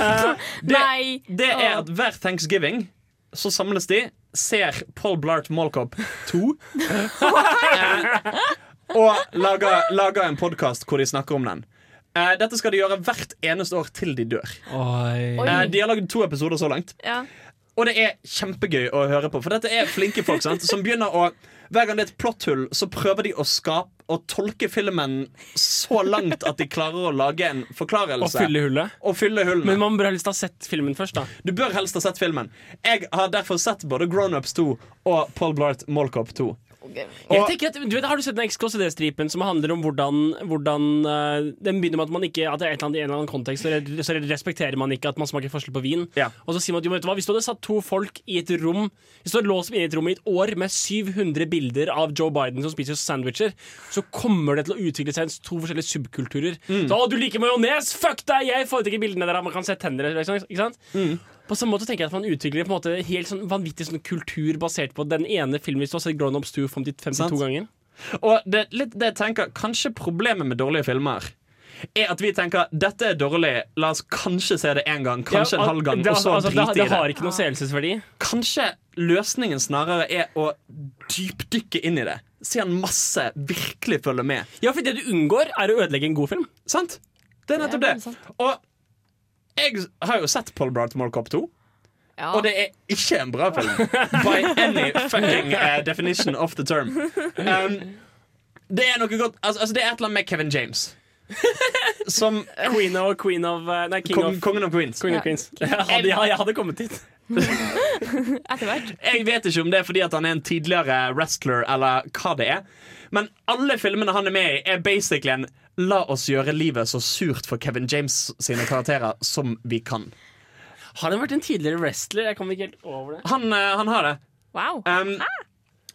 S4: Nei.
S2: det er at hver thanksgiving så samles de, ser Paul Blart Mallcop 2 eh, [LAUGHS] og lager, lager en podkast hvor de snakker om den. Eh, Dette skal de gjøre hvert eneste år til de dør.
S6: Oi.
S2: Eh, De har lagd to episoder så langt.
S4: Ja.
S2: Og det er kjempegøy å høre på, for dette er flinke folk sant? som begynner å Hver gang det er et plotthull, så prøver de å skape og tolke filmen så langt at de klarer å lage en
S6: Å
S2: forklarelse.
S6: fylle hullet.
S2: Og fylle hullene.
S6: Men man bør helst ha sett filmen først, da.
S2: Du bør helst ha sett filmen. Jeg har derfor sett både Grown Ups 2 og Paul Blart Mallcop 2.
S6: Jeg tenker at, du vet, har du sett den XKCD-stripen som handler om hvordan, hvordan eh, Den begynner med at man ikke At det er et eller annet, i en eller annen kontekst, så, re- så respekterer man ikke at man smaker forskjell på vin.
S2: Ja.
S6: Og så sier man at jo, men vet du hva, hvis du hadde satt to folk i et rom Hvis du hadde låst dem inne i et rom i et år med 700 bilder av Joe Biden som spiser sandwicher, så kommer det til å utvikle seg en s- to forskjellige subkulturer.
S2: Mm.
S6: Så, å, du liker majones! Fuck deg! Jeg foretrekker bildene der man kan se tenner. Liksom, ikke sant?
S2: Mm.
S6: På samme måte tenker jeg at man utvikler på en måte helt sånn vanvittig sånn kultur basert på den ene filmen hvis du har sett Grown Ups 2 52
S2: Sant.
S6: ganger.
S2: Og det, er litt det jeg tenker, kanskje problemet med dårlige filmer er at vi tenker dette er dårlig, la oss kanskje se det én gang, kanskje
S6: Ja,
S2: en halv gang,
S6: det,
S2: og så
S6: altså, det,
S2: drite i
S6: det
S2: det. Ah.
S6: har ikke noe seelsesverdi.
S2: Kanskje løsningen snarere er å dypdykke inn i det. Se han masse, virkelig følge med.
S6: Ja, for det du unngår, er å ødelegge en god film.
S2: Sant? Det er nettopp
S4: Det
S2: det.
S4: er veldig sant.
S2: Og jeg har jo sett Paul Blart Mall Cop 2.
S4: Ja.
S2: Og det er ikke en bra film. By any fucking eh, definition of the term. Um, det er noe godt altså, altså, det er et eller annet med Kevin James.
S4: [LAUGHS]
S2: Som
S6: Queen of, queen of eh, Nei, King
S2: kong,
S6: of
S2: kongen av Queens.
S6: Queen
S4: Ja.
S6: of Queens. Jeg hadde, [LAUGHS] ja, jeg hadde kommet dit.
S4: Etter hvert.
S2: Jeg vet ikke om det er fordi at han er en tidligere wrestler, eller hva det er. Men alle filmene han er med i, er basically en La oss gjøre livet så surt for Kevin James sine karakterer som vi kan.
S6: Har han vært en tidligere wrestler? Jeg kommer ikke helt over det.
S2: Han, eh, han har det.
S4: Wow.
S2: Um,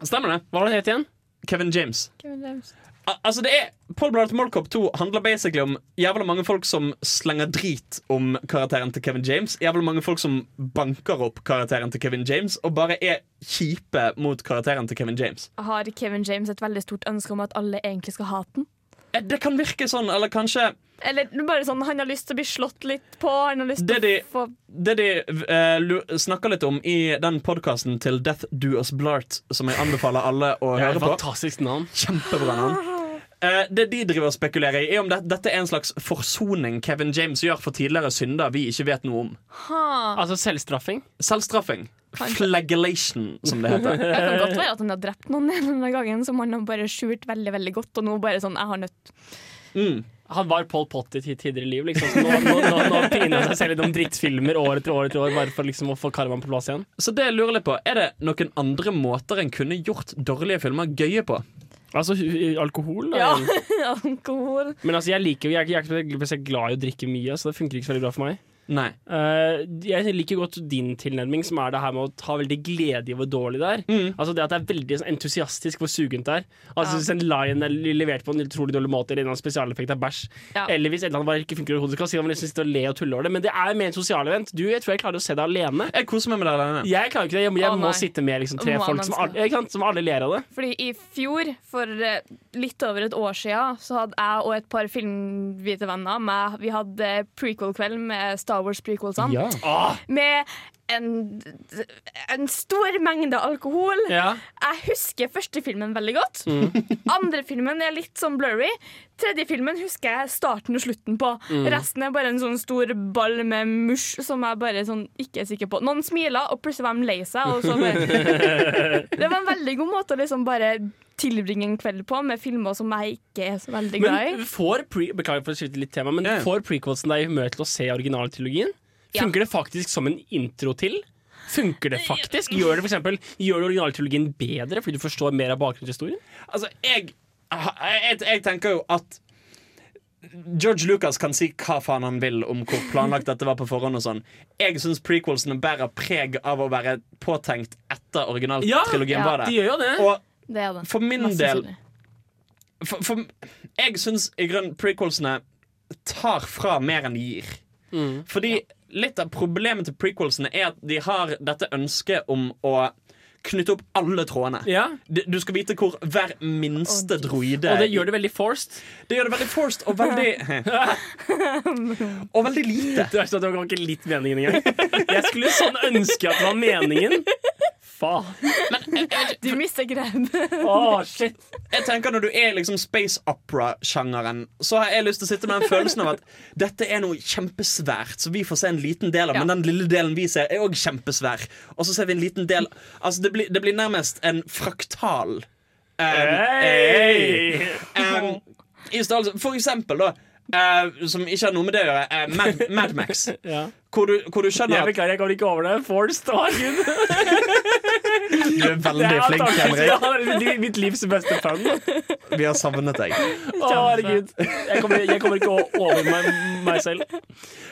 S2: stemmer det.
S6: Hva var det han het igjen?
S2: Kevin James.
S4: Kevin James.
S2: Al- Altså det er Paul Blart Mall Cop 2 handler basically om jævla mange folk som slenger drit om karakteren til Kevin James. Jævla mange folk som banker opp karakteren til Kevin James og bare er kjipe mot karakteren til Kevin James.
S4: Har Kevin James et veldig stort ønske om at alle egentlig skal hate den?
S2: Eh, Det kan virke sånn, eller kanskje
S4: Eller bare sånn, han har lyst til å bli slått litt på. Han har lyst
S2: Det
S4: til
S2: de-
S4: å få
S2: Det de eh, lu- snakker litt om i den podkasten til Death Do Us Blart, som jeg anbefaler alle å
S6: Det er
S2: høre
S6: et
S2: på
S6: fantastisk navn.
S2: Kjempebra navn. Eh, det de driver og spekulerer i, er om det, dette er en slags forsoning Kevin James gjør for tidligere synder vi ikke vet noe om.
S4: ha.
S6: Altså selvstraffing.
S2: Selvstraffing.
S4: Kanskje.
S2: Flagellation, som det heter.
S4: [LAUGHS] Det kan godt være at han har drept noen en eller annen gangen som han har bare skjult veldig veldig godt. Og nå bare sånn, jeg har nødt
S2: Mm.
S6: Han var Pol Pot i sitt tidligere liv. Liksom. Så nå, nå, nå, nå piner han seg selv litt om drittfilmer år etter år etter år bare for liksom, å få karmaen på plass igjen.
S2: Så det jeg lurer litt på, er det noen andre måter en kunne gjort dårlige filmer gøye på?
S6: Altså hu- alkohol, da.
S4: Ja,
S6: igjen.
S4: [LAUGHS] alkohol.
S6: Men altså, jeg liker jo jeg, er ikke- jeg er ikke spesielt glad i å drikke mye, så det funker ikke så veldig bra for meg.
S2: Nei.
S6: Eh, jeg liker godt din tilnærming, som er det her med å ta veldig glede i hvor dårlig det er.
S4: Mm.
S6: Altså Det at det er veldig sånn, entusiastisk hvor sugent det er. Altså Hvis en lion er levert på en utrolig dårlig måte, eller en eller annen spesialeffekt av bæsj,
S4: Ja.
S6: eller hvis et eller annet bare ikke funker i hodet, så kan man si at man liksom sitter og le og tulle over det. Men det er mer en sosial event. Du, jeg tror jeg klarer å se det alene.
S2: Jeg koser meg med deg alene.
S6: Jeg klarer ikke det. Jeg, jeg
S4: Å, nei.
S6: må sitte med liksom, tre
S4: Må man
S6: folk som,
S4: skal-
S6: alle- ikke sant, som alle ler av det.
S4: Fordi i fjor, for eh, litt over et år siden, så hadde jeg og et par filmvitevenner med, Vi hadde prequel-kveld med Star Wars-prequelsene. Med en, en stor mengde alkohol.
S6: Ja.
S4: Jeg husker første filmen veldig godt.
S2: Mm.
S4: [LAUGHS] Andre filmen er litt sånn blurry. Tredje filmen husker jeg starten og slutten på.
S2: Mm.
S4: Resten er bare en sånn stor ball med musj som jeg bare sånn ikke er sikker på. Noen smiler, og plutselig var de lei seg. Og så bare...
S2: [LAUGHS]
S4: det var en veldig god måte å liksom bare tilbringe en kveld på, med filmer som jeg ikke er så veldig glad
S6: Men
S4: i.
S6: får pre Beklager for å skifte litt tema, men
S2: Ja, ja.
S6: får prequelsen deg i humør til å se originaltrilogien?
S4: Ja.
S6: Funker det faktisk som en intro til? Funker det faktisk? Gjør det for eksempel, gjør det originaltrilogien bedre fordi du forstår mer av bakgrunnshistorien?
S2: Altså, jeg, jeg, jeg tenker jo at George Lucas kan si hva faen han vil om hvor planlagt dette var på forhånd. og sånn Jeg syns prequelsene bærer preg av å være påtenkt etter originaltrilogien
S4: Ja,
S2: var
S6: De
S2: der.
S6: gjør jo det.
S2: Og
S4: Det er det.
S2: for min
S4: Masse
S2: del
S4: sannsynlig.
S2: for, for, Jeg syns i grunnen prequelsene tar fra mer enn de gir.
S6: Mm.
S2: Fordi litt av problemet til prequelsene er at de har dette ønsket om å knytte opp alle trådene.
S6: ja. Eh,
S2: Du du skal vite hvor hver minste droide
S6: Og det gjør det veldig forced.
S2: Det gjør det veldig forced og veldig [LAUGHS] Og veldig lite.
S6: Det er sånn at Det var ikke litt meningen engang. [LAUGHS] Jeg skulle sånn ønske at det var meningen. Faen.
S4: Du mister greien.
S6: Åh, shit.
S2: Jeg tenker Når du er liksom space opera-sjangeren, så har jeg lyst til å sitte med den følelsen av at dette er noe kjempesvært, så vi får se en liten del av, men den lille delen vi ser, er òg kjempesvær. Og så ser vi en liten del Altså, det blir, det blir nærmest en fraktal. Um,
S6: Hey.
S2: um, i størrelse. For eksempel, da, eh, som ikke har noe med det å gjøre, eh, Mad, Mad Max.
S6: [LAUGHS] Ja.
S2: Hvor, du, hvor du skjønner
S6: Jeg
S2: at
S6: beklager, jeg kommer ikke over det. Forced. Å,
S2: [LAUGHS]
S6: Gud.
S2: Du er
S6: Det er
S2: veldig
S6: antakeligvis ja, det er mitt livs beste fun.
S2: Vi har savnet deg.
S6: Å, herregud. Jeg kommer, jeg kommer ikke å- over meg, meg selv.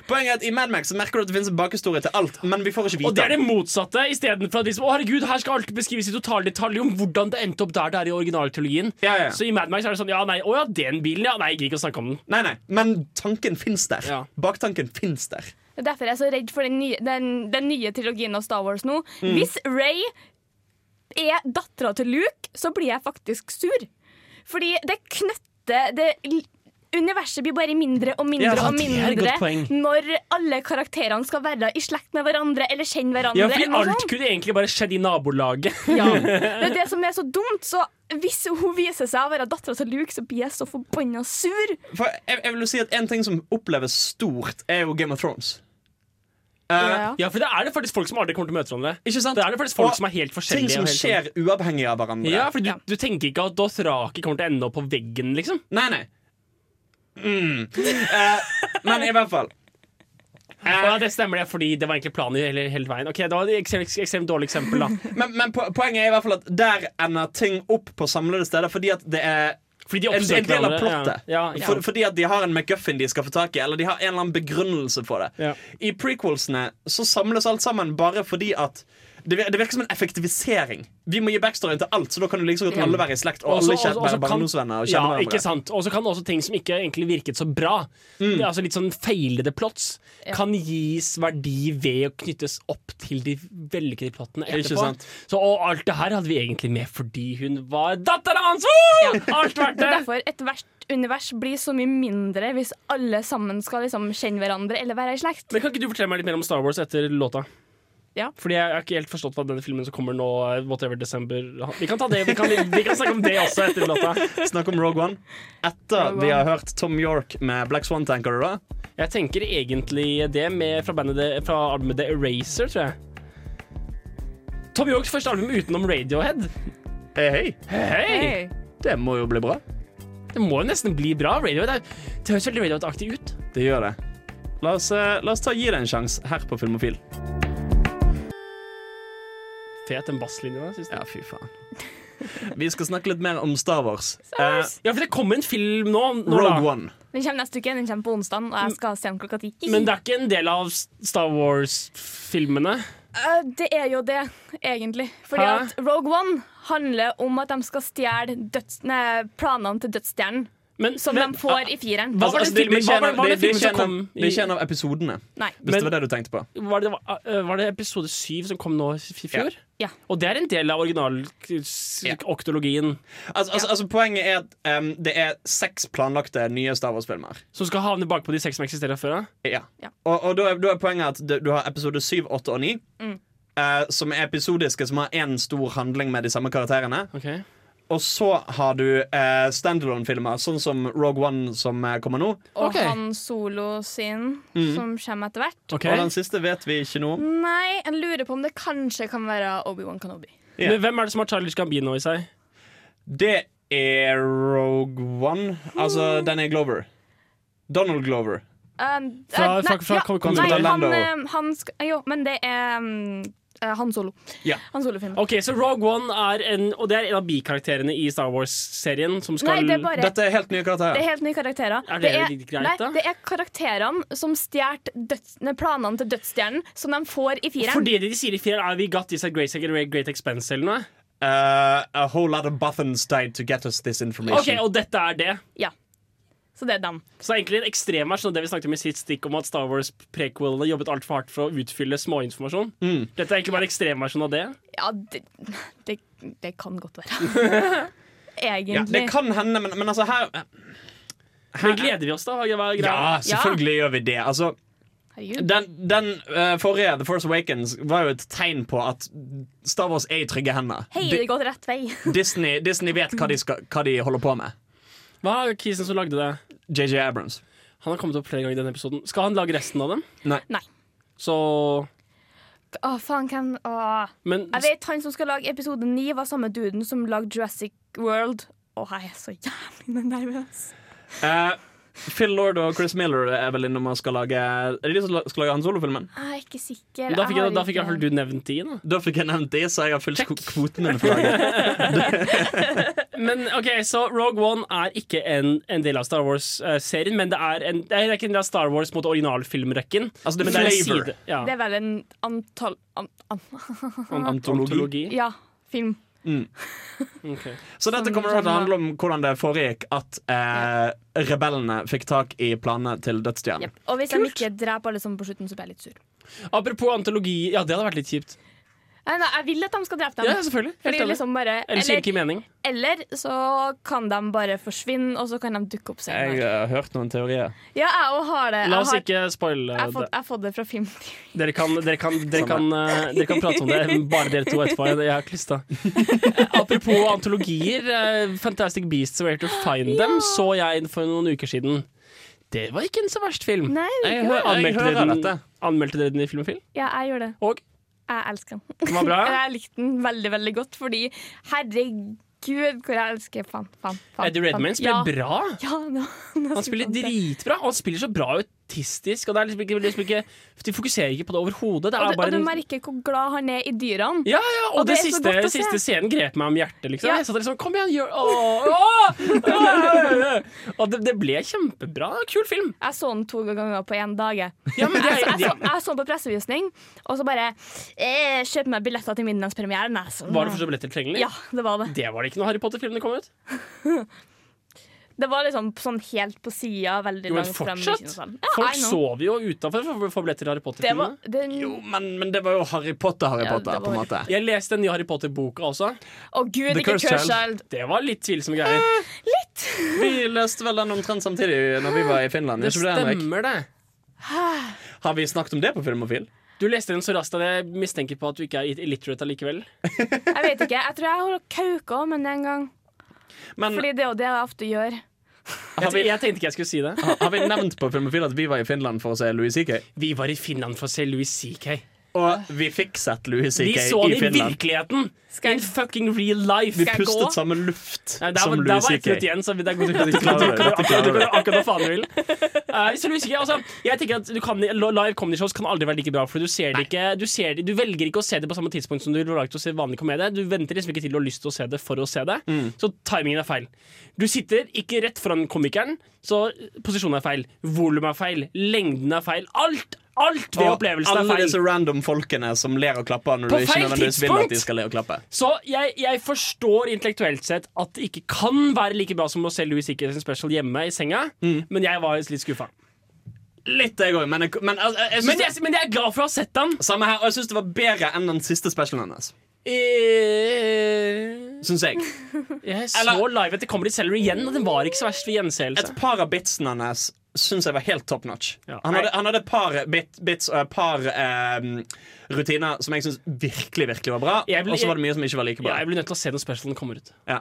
S2: Poenget er at I Mad Max så merker du at det finnes en bakhistorie til alt, men vi får ikke vite
S6: Og det er det motsatte. Istedenfor at de som, å herregud, her skal alt beskrives i totaldetalj om hvordan det endte opp der det er i originalteologien.
S2: Ja, ja.
S6: Så i Mad Max er det sånn ja, nei, å ja, den bilen, ja. Nei, jeg gidder ikke å snakke om den.
S2: Nei, nei, Men tanken fins der.
S6: Ja.
S2: Baktanken fins der.
S4: Det er derfor jeg er så redd for den nye, den, den nye trilogien av Star Wars nå.
S2: Mm.
S4: Hvis Ray er dattera til Luke, så blir jeg faktisk sur. Fordi det knøtter det, Universet blir bare mindre og
S2: Ja,
S4: mindre og
S2: det er et
S4: mindre
S2: godt poeng.
S4: når alle karakterene skal være i slekt med hverandre eller kjenne hverandre.
S6: Ja, fordi
S4: eller noe
S6: alt
S4: sånt.
S6: kunne egentlig bare skjedd i nabolaget.
S4: Ja. Det er det som er så dumt. Så hvis hun viser seg å være dattera til Luke, så blir jeg så forbanna sur.
S2: For jeg, jeg vil jo si at En ting som oppleves stort, er jo Game of Thrones. Eh,
S4: Ja,
S6: [LAUGHS] Ja, for det er det faktisk folk som aldri kommer til å møte hverandre.
S2: Ikke sant?
S6: Det er det faktisk folk
S2: Og
S6: som er helt forskjellige.
S2: Ting som
S6: og helt sånn.
S2: skjer uavhengig av hverandre.
S6: Ja, for du,
S4: Ja.
S6: du tenker ikke at Dothraki kommer til å ende opp på veggen, liksom.
S2: Nei, nei. Mm. Eh, men i hvert fall Eh.
S6: Å, ja, det stemmer, det, fordi det var egentlig planen hele, hele veien. Ok, Det var et ekstremt, ekstremt dårlig
S2: [LAUGHS]
S6: eksempel, da.
S2: Men, men po- poenget er i hvert fall at der ender ting opp på samlede steder, fordi at det er
S6: Fordi de
S2: en,
S6: oppsøker
S2: en del av
S6: hverandre.
S2: plottet.
S6: Ja, ja,
S2: For, fordi at de har en McGuffin de skal få tak i, eller de har en eller annen begrunnelse for det.
S6: Ja.
S2: I prequelsene så samles alt sammen bare fordi at det vir- det virker som en effektivisering. Vi må gi backstoryen til alt, så da kan jo like så godt alle være i slekt. Og
S6: Også-
S2: alle kjære,
S6: også- også
S2: være
S6: kan-
S2: barndomsvenner og kjenne
S6: ja,
S2: hverandre.
S6: ikke sant. Og så kan også ting som ikke egentlig virket så bra,
S2: Mm.
S6: det er altså litt sånn feilede plots, kan gis verdi ved å knyttes opp til de vellykkede plottene etterpå.
S2: Ikke sant.
S6: Så og alt det her hadde vi egentlig med fordi hun var dattera hans! Ja. Alt verdt
S4: [LAUGHS] Det er
S6: det!
S4: derfor ethvert univers blir så mye mindre hvis alle sammen skal liksom kjenne hverandre eller være i slekt.
S6: Men Kan ikke du fortelle meg litt mer om Star Wars etter låta?
S4: Ja.
S6: Fordi jeg har ikke helt forstått hva denne filmen som kommer nå, eh, whatever, desember Vi kan ta det, vi kan, vi kan snakke om det også etter låta.
S2: [LAUGHS] Snakk om Rogue One. Etter
S4: Rogue
S2: vi
S4: One.
S2: har hørt Tom York med Black Swan, tenker du da?
S6: Jeg tenker egentlig det med fra, bandet, The- fra albumet The Eraser, tror jeg. Tom Yorks første album utenom Radiohead. Eh,
S2: Hei, Eh, hei.
S6: Hei!
S2: Det må jo bli bra.
S6: Det må jo nesten bli bra. Radiohead er, det høres veldig Radiohead-aktig ut.
S2: Det gjør det. La oss, eh, la oss ta gi det en sjanse her på Filmofil.
S6: Fet den basslinja der. synes jeg.
S2: Ja, fy faen. Vi skal snakke litt mer om Star Wars. Eh,
S6: Ja, for det kommer en film nå. nå da.
S2: Rogue One.
S4: Den kommer neste uke, den kommer på onsdag, og jeg skal se den klokka ti.
S6: Men det er ikke en del av Star Wars-filmene.
S4: Eh, det er jo det, egentlig. Fordi
S6: Hæ?
S4: at Rogue One handler om at de skal stjele døds- nei, planene til dødsstjernen.
S6: Men,
S4: Som
S6: men, ah,
S4: de får i fireren.
S6: Hva var
S2: Altså, det,
S6: det
S2: det, er
S6: filmen-
S2: ikke en
S6: hva var-
S2: av-
S6: var
S2: det, det
S6: det
S2: er
S6: filmen
S2: ikke
S6: som
S2: en av,
S6: kom i-
S2: det er ikke en av episodene.
S4: Nei.
S2: Hvis
S6: Men-
S2: det var det du tenkte på.
S6: var, det, uh, var det episode syv som kom nå i fjor?
S4: Ja.
S6: Og det er en del av
S2: Ja.
S6: originaloktologien
S2: Altså, altså, altså, poenget er at em, det er seks planlagte nye Star Wars-filmer.
S6: som skal havne bakpå de seks som eksisterer fra før av.
S2: Ja.
S4: Ja.
S2: Og, og da, er, da er poenget at du- du har episode 7, 8 og 9.
S6: Mm.
S2: som er episodiske, som har én stor handling med de samme karakterene.
S6: Ok.
S2: Og så har du eh, standalone-filmer, sånn som Rogue One, som eh, kommer nå.
S4: Og
S6: Ok. Mhm.
S4: han Solo sin, som kommer etter hvert.
S6: Ok.
S2: Og den siste vet vi ikke noe om.
S4: Nei, jeg lurer på om det kanskje kan være Obi-Wan Kanobi.
S2: Ja.
S6: Men hvem er det som har Charlie Gambino i seg?
S2: Det er Rogue One. Altså, den er Glover. Donald Glover.
S4: Eh,
S6: Fra-
S4: eh, nei,
S6: fra- fra
S4: ja,
S6: Comic-Con.
S4: Nei, han,
S2: Orlando.
S4: eh, han sk- Jo, men det er mm, eh, Han Solo.
S2: Ja.
S4: Han Solo-filmen.
S6: Ok, Så Rogue One er en Og det er en av bikarakterene i Star Wars-serien som skal
S4: Nei, det er bare
S2: Dette er helt nye
S4: Det er
S2: karakterer.
S4: helt nye karakterer.
S6: Er det litt greit,
S4: nei,
S6: da?
S4: det er karakterene som stjal døds, nei, planene til dødsstjernen, som de får i fireren.
S6: Fordi det de sier i fireren, er We got this at great, great expense eller noe.
S2: Eh, a whole lot of buttons died to get us this
S6: Ok,
S2: information.
S6: Og dette er det.
S4: Ja. Så det er dem.
S6: Så det er egentlig en ekstremmatch av det vi snakket om i sitt stikk, om at Star Wars-prequelene jobbet altfor hardt for å utfylle småinformasjon.
S2: Mm.
S6: Dette er egentlig bare ekstremversjon av det.
S4: Ja, det, det, det kan godt være.
S6: [LAUGHS]
S4: Egentlig.
S2: Ja, det kan hende, men, men altså her
S6: Men gleder vi oss, da? Hva er greia?
S2: Ja, selvfølgelig gjør vi det. Altså,
S4: Herregud.
S2: den den eh, forrige, The Force Awakens, var jo et tegn på at Star Wars er i trygge hender.
S4: Hei,
S2: Di-
S4: det går rett vei.
S2: Disney, Disney vet hva de, skal, hva de holder på med.
S6: Hva er kisen som lagde det?
S2: JJ Abrams.
S6: Han har kommet opp flere ganger i denne episoden. Skal han lage resten av dem?
S4: Nei.
S6: Så
S4: Å, faen, hvem Å.
S6: Men
S4: Jeg vet han som skal lage episode 9, var samme duden som lagde Jurassic World. Å, jeg er så jævlig nervøs.
S2: Eh, Phil Lord og Chris Miller er vel innom og skal lage Er det de som la- skal lage Han Solo-filmen?
S4: Jeg er ikke sikker.
S6: da fikk,
S4: har
S6: jeg, da fikk jeg
S4: ikke-
S6: iallfall du nevnt de, da.
S2: Da fikk jeg nevnt de, så jeg har fylt kvo- kvoten min. for
S6: [LAUGHS]
S2: laget.
S6: Men ok, Så Rogue One er ikke en, en del av Star Wars-serien, men det er, en, det er ikke en del av Star Wars mot originalfilmrekken.
S2: Altså, det er
S6: men det er en
S2: flavor.
S6: side. Ja.
S4: Det er vel en antall an, an,
S6: Antologi.
S4: Ja, film.
S6: Ok.
S2: Så dette kommer
S6: Sånn
S2: til å handle om hvordan det foregikk at eh, rebellene fikk tak i planene til Dødsstjernen.
S4: Jep. Og hvis de ikke dreper alle sammen på slutten, så blir jeg litt sur.
S6: Apropos antologi Ja, det hadde vært litt kjipt.
S4: Nei, nei, jeg vil at de skal drepe dem.
S6: Ja, selvfølgelig. Helt
S4: Fordi
S6: enig.
S4: liksom bare,
S6: Ellers gir det
S4: eller,
S6: ikke mening.
S4: eller så kan de bare forsvinne, og så kan de dukke opp senere.
S2: eh, har hørt noen teorier.
S4: Ja, jeg òg har det.
S6: La
S4: Jeg
S6: oss
S4: har, jeg
S6: ikke spoile
S4: har fått,
S6: det.
S4: jeg har fått det fra film.
S6: Dere kan, dere, kan, dere, kan, eh, dere kan prate om det, bare dere to etterpå. Jeg jeg har klysta. Eh, Apropos antologier. eh, Fantastic Beasts og Where to Find Them så jeg for noen uker siden. Det var ikke en så verst film.
S4: Nei,
S2: Jeg,
S4: jeg,
S2: hø jeg
S6: Anmeldte
S2: hører
S6: dere
S2: dette.
S6: den, anmeldte dere den i Filmofil?
S4: ja, jeg gjør det.
S6: Og
S4: Jeg elsker den.
S6: den var bra?
S4: [LAUGHS] Jeg likte den veldig, veldig godt, fordi herregud, hvor jeg elsker fan, fan, fan.
S6: Eddie Redmayne
S4: ja.
S6: spiller bra.
S4: Ja, nå, [LAUGHS] nå
S6: Han spiller
S4: fant jeg.
S6: dritbra, og han spiller så bra autistisk. Og det er liksom ikke, liksom ikke, de fokuserer ikke på det overhodet. Det
S4: Og
S6: er
S4: du, og
S6: bare
S4: du
S6: en
S4: merker hvor glad han er i dyrene.
S6: Ja, ja, og,
S4: Og
S6: det,
S4: det er så
S6: siste,
S4: godt å se.
S6: siste scenen grep meg om hjertet. Liksom.
S4: Ja.
S6: Jeg satt der liksom Kom igjen, gjør åh, åh, åh, åh. Og det, det ble kjempebra. Kul film.
S4: Jeg så den to ganger på én dag. jeg.
S6: Ja, men det
S4: [LAUGHS] Jeg,
S6: er,
S4: jeg, så, jeg så den på pressevisning, og så bare eh, Kjøp meg billetter til middagspremieren. jeg, så-
S6: var det fortsatt billetter tilgjengelig?
S4: Ja, det var det.
S6: Det var det ikke når Harry Potter-filmene kom ut.
S4: Det var liksom sånn helt på sida, veldig
S6: Jo, men
S4: langt frem. i
S6: fortsatt.
S4: kinosalen. Ja,
S6: Folk
S4: I know.
S6: sov jo utafor for å få billetter til Harry
S4: Det var
S6: Potter-filmene.
S4: den,
S2: Jo, men, men det var jo Harry Potter-Harry
S4: Ja,
S2: Potter,
S4: det var
S2: på en
S4: Harry
S2: måte.
S6: Jeg leste den nye Harry Potter-boka også.
S4: Å gud,
S2: The
S4: ikke
S2: Cursed
S4: Cursed
S2: Child.
S4: Child.
S6: Det var litt tvilsomme
S4: Eh,
S6: greier.
S2: Vi leste vel den omtrent samtidig når vi var i Finland.
S6: Det
S2: Ikke det, Henrik?
S6: stemmer, det.
S2: Har vi snakket om det på Filmofil?
S6: Du leste den så raskt at jeg mistenker på at du ikke er illiterate allikevel.
S4: Jeg vet ikke. Jeg tror jeg har kauka om den en gang.
S2: Men
S4: Fordi det er jo det jeg ofte gjør.
S6: Jeg, te- jeg tenkte ikke jeg skulle si det.
S2: har, har vi nevnt på Filmofil at vi var i Finland for å se Louis CK?
S6: Vi var i Finland for å se Louis C.K.
S2: Og vi fikk sett Louis
S6: Vi
S2: CK
S6: så
S2: i
S6: det i
S2: Finland.
S6: virkeligheten!
S4: Skal jeg-
S6: In fucking real life.
S2: Vi
S4: Skal jeg gå?
S2: pustet samme luft
S6: Nei, der,
S2: som
S6: var- der
S2: Louis
S6: var ett
S2: CK.
S6: minutt igjen,
S2: [LAUGHS]
S6: så det er godt du
S2: Du klarer det,
S6: du kan-
S2: du klarer
S6: du kan
S2: det.
S6: gjøre akkurat hva faen du vil. Eh, så Louis CK, altså, jeg tenker at du kan, Live comedy shows kan aldri være like bra, for du ser det ikke du, ser det, du velger ikke å se det på samme tidspunkt som du ville valgt å se vanlig komedie. Du venter liksom ikke til du har lyst til å se det for å se det.
S2: Mm.
S6: Så timingen er feil. Du sitter ikke rett foran komikeren, så posisjonen er feil. Volumet er feil. Lengden er feil. Alt! Alt ved
S2: Og
S6: opplevelsen er
S2: alle
S6: feil.
S2: disse random folkene som ler og klapper når
S6: På
S2: du ikke
S6: feil
S2: nødvendigvis vil at de
S6: tidspunkt!
S2: skal le og klappe.
S6: Så jeg, jeg forstår intellektuelt sett at det ikke kan være like bra som å se Louis Hickey sin special hjemme i senga, men jeg var litt skuffa.
S2: Litt, jeg òg, men, jeg, men, altså, jeg, jeg synes
S6: Men, jeg- men jeg er glad for å ha sett den.
S2: Samme her, og jeg syns det var bedre enn den siste specialen hennes.
S6: Eh,
S2: Synes [LAUGHS] jeg.
S6: Jeg så
S2: Eller-
S6: live etter Comedy Cellar igjen, og den var ikke så verst ved
S2: Et
S6: gjenseelse.
S2: par av bitsene hennes syns jeg var helt top notch.
S6: Ja.
S2: Han, hadde, han hadde et par bit, bits og et par eh, rutiner som jeg syns virkelig virkelig var bra,
S6: Jeg ble-
S2: og så var det mye som ikke var like
S6: Ja,
S2: bra.
S6: jeg blir nødt til å se den specialen kommer ut.
S2: Ja.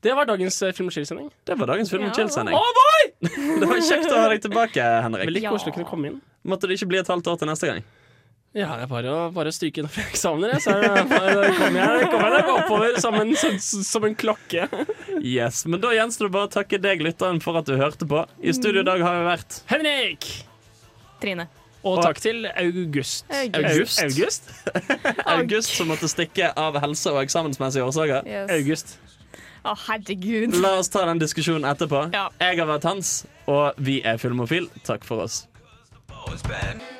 S6: Det var dagens eh, Film og Chill-sending.
S2: Det var dagens Film
S4: Ja.
S2: og chill-sending.
S6: Oh boy!
S2: [LAUGHS] Det var kjekt å ha deg tilbake, Henrik.
S6: Veldig
S4: Ja.
S6: koselig å kunne komme inn.
S2: Måtte det ikke bli et halvt år til neste gang.
S6: Ja, det er bare å, bare å stryke inn eksamener, jeg. Så er [LAUGHS] det bare, kommer jeg, kommer jeg meg oppover som en, som, som en klokke.
S2: Yes, Men da gjenstår det bare å takke deg, lytteren, for at du hørte på. I studio i dag har vi vært
S6: Henrik!
S4: Trine.
S6: Og takk til August.
S2: August.
S6: August?
S2: August, som måtte stikke av helse- og eksamensmessige årsaker.
S4: Yes.
S6: August.
S4: Å, herregud.
S2: La oss ta den diskusjonen etterpå.
S4: Ja.
S2: Jeg har vært Hans, og vi er Filmofil. Takk for oss.
S5: Always been